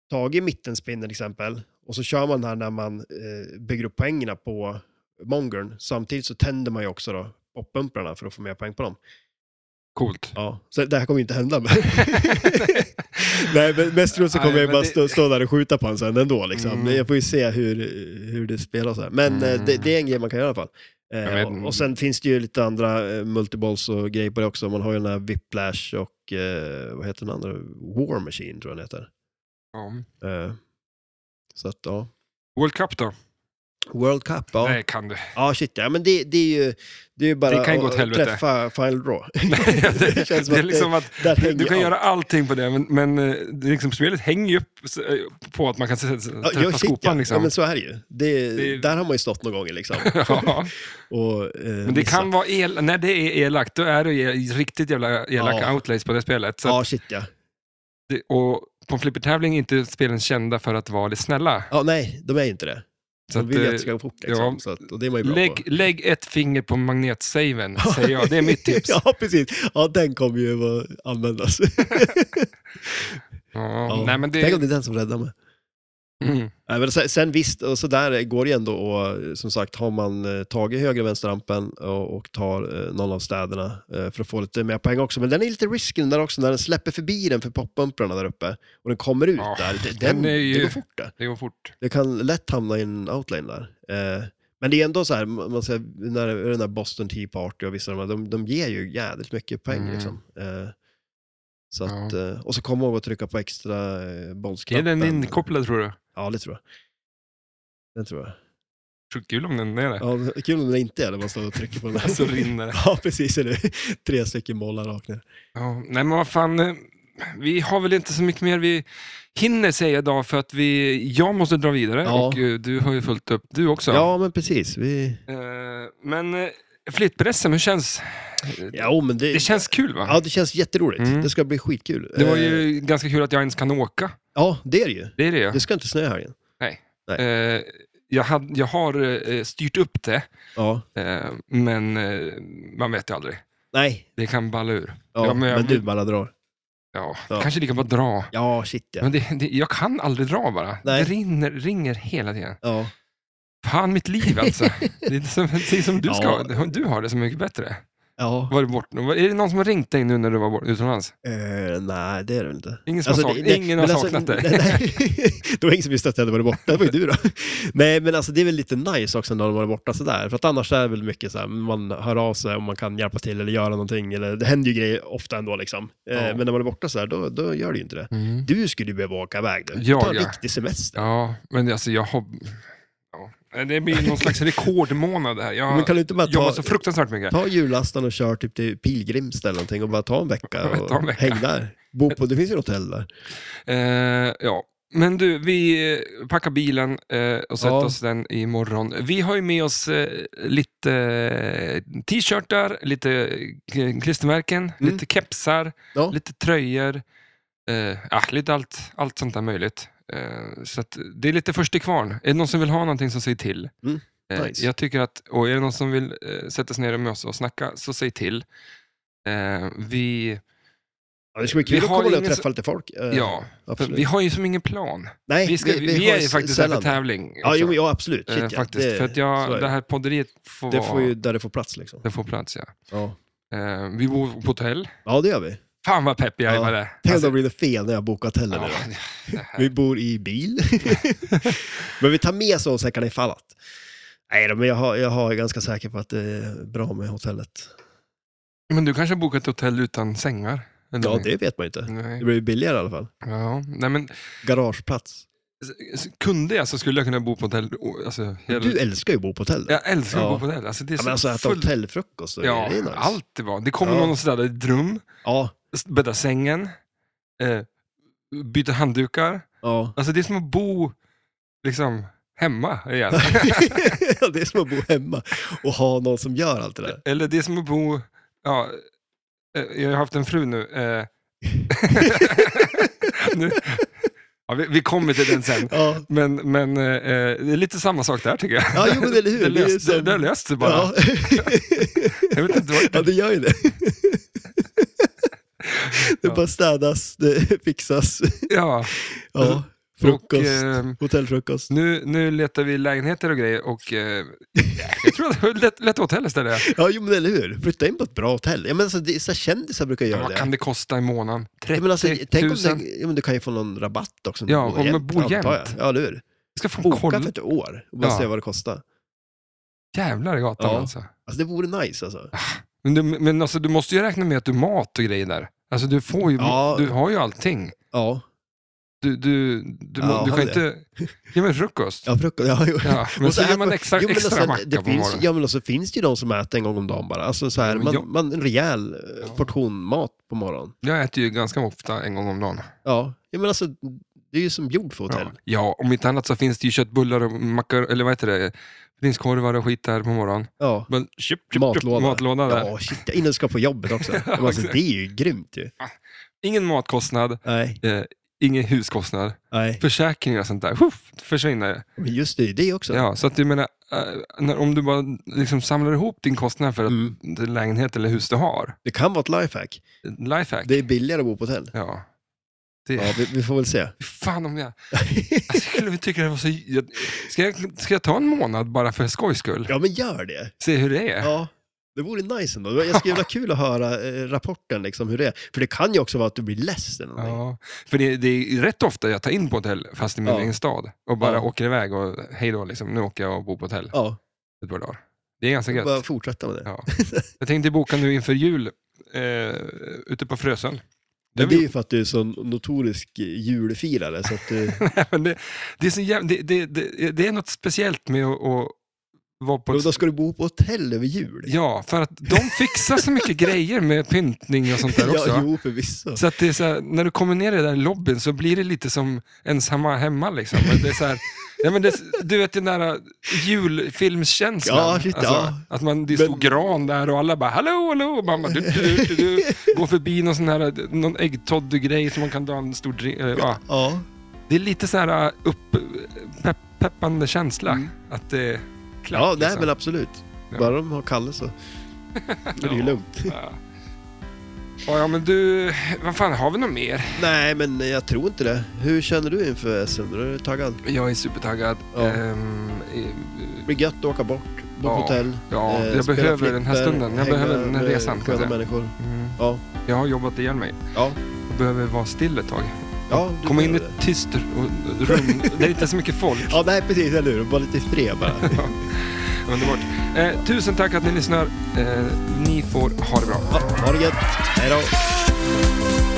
Speaker 2: tagit mittenspinnen till exempel och så kör man den här när man eh, bygger upp poängerna på mongern. Samtidigt så tänder man ju också då popbumprarna för att få mer poäng på dem.
Speaker 1: Coolt. <laughs>
Speaker 2: Ja, så det här kommer ju inte hända. Men... <laughs> Nej, men mest troligt så kommer
Speaker 1: Nej,
Speaker 2: jag
Speaker 1: men
Speaker 2: bara
Speaker 1: det-
Speaker 2: stå, stå där och skjuta på honom sen ändå. Liksom.
Speaker 1: Mm.
Speaker 2: Men Jag får ju se hur, hur det spelas. Här. Men
Speaker 1: Mm.
Speaker 2: eh, det, det är en grej man kan göra i alla fall. Eh,
Speaker 1: Jag vet-
Speaker 2: och, och sen finns det ju lite andra eh, multiballs och grejer på det också. Man har ju den här Whiplash och eh, vad heter den andra? War Machine tror jag den heter.
Speaker 1: Ja.
Speaker 2: Eh, så att ja.
Speaker 1: World Cup då?
Speaker 2: World Cup, ja.
Speaker 1: Nej, kan du.
Speaker 2: Ja, shit ja. Men det, det är ju det är ju bara
Speaker 1: Det kan ju gå åt
Speaker 2: att
Speaker 1: helvete.
Speaker 2: träffa
Speaker 1: <laughs>
Speaker 2: Final Draw.
Speaker 1: det,
Speaker 2: <laughs> <laughs> Det känns som
Speaker 1: <laughs> det är
Speaker 2: att
Speaker 1: liksom att
Speaker 2: Där
Speaker 1: du, du
Speaker 2: hänger
Speaker 1: kan
Speaker 2: allt.
Speaker 1: göra allting på det, men, men eh, det är liksom, spelet hänger ju upp s- eh, på att man kan s- s-
Speaker 2: Ja,
Speaker 1: träffa
Speaker 2: ja, shit, ja.
Speaker 1: skopan.
Speaker 2: ja,
Speaker 1: Liksom.
Speaker 2: men så är det ju. Det,
Speaker 1: Det-
Speaker 2: Där har man ju stått någon gång liksom.
Speaker 1: <laughs> Ja,
Speaker 2: Och, eh,
Speaker 1: men det kan vara el- när det är elakt, då är det el- riktigt jävla elaka
Speaker 2: Ja.
Speaker 1: outlays på det spelet. Så att
Speaker 2: Ja, shit ja.
Speaker 1: det, och på en flippertävling är inte spelen kända för att vara det snälla.
Speaker 2: Ja, nej, de är ju inte det.
Speaker 1: Så
Speaker 2: De
Speaker 1: att,
Speaker 2: vill ju att
Speaker 1: eh,
Speaker 2: det ska gå fort liksom.
Speaker 1: ja.
Speaker 2: Så att, och det är man ju bra
Speaker 1: lägg,
Speaker 2: på.
Speaker 1: lägg ett finger på
Speaker 2: <laughs>
Speaker 1: magnetsaven, <laughs> säger jag. Det är mitt tips. ja.
Speaker 2: ja, precis. Ja, den kommer ju att användas. Ja.
Speaker 1: Nej, men det,
Speaker 2: Tänk om det är den som räddar mig.
Speaker 1: mm,
Speaker 2: Nej, men sen, sen visst, och så där går det ju ändå och eh, som sagt, har man eh, tagit höger och vänsterrampen och, och tar eh, någon av städerna eh, för att få lite mer poäng också. Men den är lite risky den där också, när den släpper förbi den för popbumprarna där uppe och den kommer ut
Speaker 1: Ja,
Speaker 2: där. Det- Den,
Speaker 1: den är ju-
Speaker 2: Det går fort det.
Speaker 1: det går fort.
Speaker 2: Det kan lätt hamna i en outline där. Eh, men det är ändå så här, man man säger, när det är den där Boston Tea Party och vissa av de, här, de, de ger ju jädrigt mycket poäng.
Speaker 1: Mm.
Speaker 2: Liksom. Eh, så
Speaker 1: Ja.
Speaker 2: att, eh, och så kom ihåg att trycka på extra eh,
Speaker 1: Är
Speaker 2: bollsknappen.
Speaker 1: den inkopplad, tror du?
Speaker 2: Ja, det tror jag. Den tror jag.
Speaker 1: Så kul om den är det.
Speaker 2: Ja, det är kul om den inte är det, man står och trycker på den.
Speaker 1: <laughs> Så rinner det.
Speaker 2: Ja, precis. Eller? Tre stycken bollar rakt ner.
Speaker 1: Ja, nej men vad fan, eh, vi har väl inte så mycket mer vi hinner säga idag för att vi, jag måste dra vidare
Speaker 2: Ja.
Speaker 1: och eh, du har ju fullt upp du också.
Speaker 2: Ja, men precis. Vi...
Speaker 1: Eh, Men eh, flyttpressen, hur känns? eh,
Speaker 2: Ja, men det...
Speaker 1: Det känns kul va?
Speaker 2: Ja, det känns jätteroligt.
Speaker 1: Mm.
Speaker 2: Det ska bli skitkul.
Speaker 1: Det var
Speaker 2: Eh,
Speaker 1: ju ganska kul att jag ens kan åka.
Speaker 2: Ja, det är det ju.
Speaker 1: Det är det ju.
Speaker 2: Det ska inte snöa i helgen.
Speaker 1: Eh, Jag, hade, jag har eh, styrt upp det,
Speaker 2: Ja.
Speaker 1: eh, men eh, man vet ju aldrig.
Speaker 2: Nej,
Speaker 1: Det kan balla ur.
Speaker 2: Ja,
Speaker 1: Ja, men
Speaker 2: men,
Speaker 1: jag-
Speaker 2: du bara drar.
Speaker 1: Ja,
Speaker 2: Ja.
Speaker 1: Kanske lika bra att dra.
Speaker 2: Ja, shit ja.
Speaker 1: Men det, det, jag kan aldrig dra bara.
Speaker 2: Nej.
Speaker 1: Det rinner, ringer hela tiden.
Speaker 2: ja.
Speaker 1: Fan, mitt liv alltså. Det är som, precis som du, ska, ha- du har det så mycket bättre.
Speaker 2: ja.
Speaker 1: Var du bort, var, är det någon som har ringt dig nu när du var bort, utomlands?
Speaker 2: Eh, nej, det är det väl inte.
Speaker 1: Ingen, som har sak,
Speaker 2: det- det-
Speaker 1: ingen
Speaker 2: men
Speaker 1: har
Speaker 2: alltså,
Speaker 1: saknat
Speaker 2: nej,
Speaker 1: dig?
Speaker 2: <laughs> Nej, det var ingen som visste att jag hade varit borta. Det var ju du då. Nej, men alltså det är väl lite nice också när de varit borta sådär. För att annars är det väl mycket så här, man hör av sig om man kan hjälpa till eller göra någonting. Eller, det händer ju grejer ofta ändå liksom. Eh,
Speaker 1: Ja.
Speaker 2: Men när man är borta sådär, då, då gör det ju inte det.
Speaker 1: Mm.
Speaker 2: Du skulle ju behöva åka iväg du.
Speaker 1: Ja,
Speaker 2: Ta en
Speaker 1: ja.
Speaker 2: riktig semester.
Speaker 1: Ja, men alltså jag har... Ja. Det blir någon slags rekordmånad här.
Speaker 2: Men
Speaker 1: Jag
Speaker 2: kan du inte bara
Speaker 1: jobbar
Speaker 2: ta,
Speaker 1: så fruktansvärt mycket.
Speaker 2: ta jullastan och kör typ till Pilgrimstad eller någonting och bara ta
Speaker 1: <laughs>
Speaker 2: en vecka och
Speaker 1: Ta en vecka.
Speaker 2: häng där. Bo på, det finns ju ett hotell där.
Speaker 1: Eh, ja. Men du, vi eh, packar bilen eh, och sätter
Speaker 2: Ja.
Speaker 1: oss den imorgon. Vi har ju med oss eh, lite eh, t-shirtar, lite eh, klistermärken,
Speaker 2: Mm.
Speaker 1: lite kepsar,
Speaker 2: Ja.
Speaker 1: lite tröjor, eh, ja, lite allt, allt sånt där möjligt. Eh, så att det är lite först till kvarn. Är det någon som vill ha någonting så säg till.
Speaker 2: Mm,
Speaker 1: Eh,
Speaker 2: nice.
Speaker 1: Jag tycker att, och är det någon som vill eh, sätta sig ner med oss och snacka så säg till. Eh, vi,
Speaker 2: Ja, det ska bli
Speaker 1: Vi
Speaker 2: kul att
Speaker 1: har
Speaker 2: komma ner och
Speaker 1: ingen-
Speaker 2: träffa lite folk. Eh,
Speaker 1: ja, för
Speaker 2: absolut.
Speaker 1: vi har ju som ingen plan.
Speaker 2: Nej,
Speaker 1: Vi, ska, vi, vi
Speaker 2: Eh, har
Speaker 1: är ju
Speaker 2: s-
Speaker 1: faktiskt här
Speaker 2: sällan
Speaker 1: för
Speaker 2: det.
Speaker 1: tävling.
Speaker 2: Ja,
Speaker 1: också.
Speaker 2: jo, ja, absolut. Shit,
Speaker 1: Eh,
Speaker 2: ja.
Speaker 1: faktiskt.
Speaker 2: Det,
Speaker 1: för att
Speaker 2: så är
Speaker 1: jag, det
Speaker 2: det.
Speaker 1: här podderiet får,
Speaker 2: det
Speaker 1: vara,
Speaker 2: får ju där det får plats liksom.
Speaker 1: det får plats. Ja.
Speaker 2: Ja,
Speaker 1: Eh, vi bor på hotell.
Speaker 2: ja det gör vi.
Speaker 1: Fan vad pepp jag är
Speaker 2: Ja.
Speaker 1: på det.
Speaker 2: Tänk om
Speaker 1: Alltså,
Speaker 2: det blir fel när jag bokar hotellet
Speaker 1: ja,
Speaker 2: idag. <laughs>
Speaker 1: det här. <laughs>
Speaker 2: Vi bor i bil. Men vi tar med oss säckarna ifall att. Nej då, men jag, har, jag har- är ganska säker på att det är bra med hotellet.
Speaker 1: Men du kanske har bokat ett hotell utan sängar? Eller?
Speaker 2: Ja, det vet man ju inte. Det
Speaker 1: Nej.
Speaker 2: blir ju billigare i alla fall.
Speaker 1: Ja, nej men
Speaker 2: Garageplats.
Speaker 1: s- kunde jag så skulle jag kunna bo på hotell. o- Alltså, hela...
Speaker 2: Du älskar ju att bo på hotell. Ja,
Speaker 1: Jag älskar att
Speaker 2: Ja.
Speaker 1: bo på hotell. Alltså, det är så
Speaker 2: men alltså äta
Speaker 1: fullt-
Speaker 2: hotellfrukost, och
Speaker 1: Ja,
Speaker 2: det är nice.
Speaker 1: allt det var. Det kommer
Speaker 2: alltså. Ja.
Speaker 1: någon och städar ditt rum,
Speaker 2: Ja,
Speaker 1: s- bäddar sängen, eh, byter handdukar.
Speaker 2: ja. <laughs>
Speaker 1: Alltså det är som att bo liksom hemma
Speaker 2: <laughs>
Speaker 1: igen.
Speaker 2: Ja, det är som att bo hemma och ha någon som gör allt det där.
Speaker 1: Eller det är som att bo... Ja, eh, jag har haft en fru nu.
Speaker 2: <laughs>
Speaker 1: Eh, nu ja, vi, vi kommer till den sen.
Speaker 2: Ja,
Speaker 1: Men, men eh, eh, det är lite samma sak där tycker jag.
Speaker 2: ja jo, men eller hur.
Speaker 1: Det,
Speaker 2: är
Speaker 1: löst, det,
Speaker 2: som-
Speaker 1: det har löst sig bara.
Speaker 2: Ja. <laughs>
Speaker 1: Jag vet inte
Speaker 2: ja,
Speaker 1: vad...
Speaker 2: det
Speaker 1: <laughs>
Speaker 2: gör ju det. Det
Speaker 1: Ja.
Speaker 2: bara städas, det <laughs> fixas.
Speaker 1: Ja, eh,
Speaker 2: Ja, frukost,
Speaker 1: Och, eh,
Speaker 2: hotellfrukost.
Speaker 1: nu, nu letar vi lägenheter och grejer och eh, jag tror att det lät, lät hotell istället.
Speaker 2: Ja, jo, men eller hur. Flytta in på ett bra hotell. Ja, men alltså, det, är så här, kändisar brukar
Speaker 1: Ja,
Speaker 2: göra
Speaker 1: vad
Speaker 2: det.
Speaker 1: kan det kosta i månaden?
Speaker 2: Ja,
Speaker 1: 30
Speaker 2: men alltså,
Speaker 1: 000?
Speaker 2: tänk om det, ja, men du kan ju få någon rabatt också. om
Speaker 1: Ja,
Speaker 2: du
Speaker 1: om man
Speaker 2: jämt,
Speaker 1: bor
Speaker 2: antar
Speaker 1: jämt.
Speaker 2: jag. Ja, eller hur.
Speaker 1: Jag ska fan
Speaker 2: Boka
Speaker 1: kolla.
Speaker 2: för ett år och bara
Speaker 1: Ja.
Speaker 2: se vad det kostar.
Speaker 1: Jävlar i gatan
Speaker 2: Ja.
Speaker 1: alltså.
Speaker 2: Alltså det vore nice alltså.
Speaker 1: Men, du, men alltså, du måste ju räkna med att du mat och grejer där. Alltså du, får ju,
Speaker 2: Ja.
Speaker 1: du har ju allting.
Speaker 2: Ja,
Speaker 1: Du, du, du,
Speaker 2: Ja,
Speaker 1: må- du kan
Speaker 2: har det.
Speaker 1: inte... Ja men frukost.
Speaker 2: ja frukost. <laughs> Ja, jo.
Speaker 1: Ja, men
Speaker 2: Och
Speaker 1: så, gör
Speaker 2: äter
Speaker 1: man extra,
Speaker 2: jo, men
Speaker 1: extra
Speaker 2: alltså,
Speaker 1: macka
Speaker 2: det
Speaker 1: på
Speaker 2: finns,
Speaker 1: morgonen.
Speaker 2: Ja, men alltså finns det ju de som äter en gång om dagen bara. Alltså så här,
Speaker 1: Ja, men
Speaker 2: man,
Speaker 1: jag-
Speaker 2: man, en rejäl eh,
Speaker 1: Ja.
Speaker 2: portion mat på morgonen.
Speaker 1: Jag äter ju ganska ofta en gång om dagen.
Speaker 2: Ja, ja men alltså det är ju som jord för hotell.
Speaker 1: Ja. ja, om inte annat så finns det ju köttbullar och mackor, eller vad heter det, prinskorvar och skit där på morgonen.
Speaker 2: Ja.
Speaker 1: Men, chip, chip,
Speaker 2: Matlåda.
Speaker 1: Chip, matlåda där.
Speaker 2: Ja, shit, innan du ska på jobbet också.
Speaker 1: <laughs>
Speaker 2: Men alltså, det är ju grymt ju.
Speaker 1: Ingen matkostnad,
Speaker 2: Nej,
Speaker 1: eh, ingen huskostnad,
Speaker 2: nej.
Speaker 1: försäkringar och sånt där. Huff, försvinner.
Speaker 2: Men just det, det är ju också.
Speaker 1: Ja, så att du menar, eh, när, om du bara liksom samlar ihop din kostnad för att
Speaker 2: Mm.
Speaker 1: den lägenhet eller hus du har,
Speaker 2: Det kan vara ett lifehack.
Speaker 1: lifehack.
Speaker 2: Det är billigare att bo på hotell.
Speaker 1: Ja. Det,
Speaker 2: Ja, vi, vi får väl se.
Speaker 1: Fan
Speaker 2: <laughs>
Speaker 1: om jag... Alltså, jag skulle tycka det var så... Jag, ska, jag, ska jag ta en månad bara för skojs skull?
Speaker 2: Ja, men gör det.
Speaker 1: Se hur det är?
Speaker 2: Ja, det vore nice ändå. Jag skulle vilja kul att höra eh, rapporten, liksom, hur det är. För det kan ju också vara att du blir less eller någonting.
Speaker 1: Ja. För det, det är rätt ofta jag tar in på hotell fast i min
Speaker 2: Ja.
Speaker 1: egen stad och bara
Speaker 2: Ja.
Speaker 1: åker iväg och hej då, liksom, nu åker jag och bor på hotell
Speaker 2: Ja,
Speaker 1: ett par dagar. Det är ganska
Speaker 2: ja
Speaker 1: gött.
Speaker 2: bara fortsätta med det.
Speaker 1: Ja. Jag tänkte boka nu inför jul eh, ute på Frösön.
Speaker 2: Men det är ju för att du är så notorisk eh, julfirare. Så
Speaker 1: <laughs>
Speaker 2: att, eh,
Speaker 1: Nej, men det, det, är så jäv... det, det, det, det är något speciellt med att, att vara på
Speaker 2: då
Speaker 1: ett...
Speaker 2: ska du bo på hotell över jul.
Speaker 1: Ja, för att de fixar så mycket grejer med pyntning och sånt där också.
Speaker 2: <laughs> ja, jo, förvisso.
Speaker 1: Så att det är så här, när du kommer ner i den där lobbyn så blir det lite som ensamma hemma liksom. Men Det är så här, ja, men det, du vet den där äh, julfilmskänslan. Alltså,
Speaker 2: Ja, shit, ja.
Speaker 1: Att man, det stod
Speaker 2: Men-
Speaker 1: gran där och alla bara hallå, hallå, och man bara, du, du, du, du, går förbi någon sån här, äh, någon äggtoddy-grej som man kan dra en stor drink. eh, Ja.
Speaker 2: Ja,
Speaker 1: Det är lite så här äh, upp, pepp, peppande känsla.
Speaker 2: Mm.
Speaker 1: Att det är klart.
Speaker 2: ja nej,
Speaker 1: liksom.
Speaker 2: men absolut.
Speaker 1: Ja.
Speaker 2: Bara de har
Speaker 1: <laughs>
Speaker 2: Kalle så är det ju
Speaker 1: Ja.
Speaker 2: lugnt. <laughs>
Speaker 1: Ja. Ja, ja, men du, vad fan, har vi något mer?
Speaker 2: Nej, men jag tror inte det. Hur känner du inför SM? Är du taggad?
Speaker 1: Jag är supertaggad.
Speaker 2: Ja.
Speaker 1: Ehm, eh,
Speaker 2: Det blir gött att åka bort, bo på
Speaker 1: Ja.
Speaker 2: hotell.
Speaker 1: ja,
Speaker 2: eh,
Speaker 1: jag
Speaker 2: spela
Speaker 1: behöver
Speaker 2: flipper,
Speaker 1: den här stunden. Jag
Speaker 2: hänga
Speaker 1: behöver den här
Speaker 2: med
Speaker 1: resan. kan jag
Speaker 2: Sköna
Speaker 1: säga.
Speaker 2: människor.
Speaker 1: Mm.
Speaker 2: Ja.
Speaker 1: Jag har jobbat ihjäl mig.
Speaker 2: Ja.
Speaker 1: Jag behöver vara still ett tag.
Speaker 2: Ja, du
Speaker 1: Komma in i
Speaker 2: behöver
Speaker 1: ett tyst r- rum. det är inte så mycket folk.
Speaker 2: <laughs> Ja, nej precis, eller hur? Bara lite fred bara.
Speaker 1: Underbart. Eh, tusen tack att ni lyssnar. Eh, ni får <laughs> ha det bra.
Speaker 2: Ja, ha det gött. Hej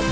Speaker 2: då.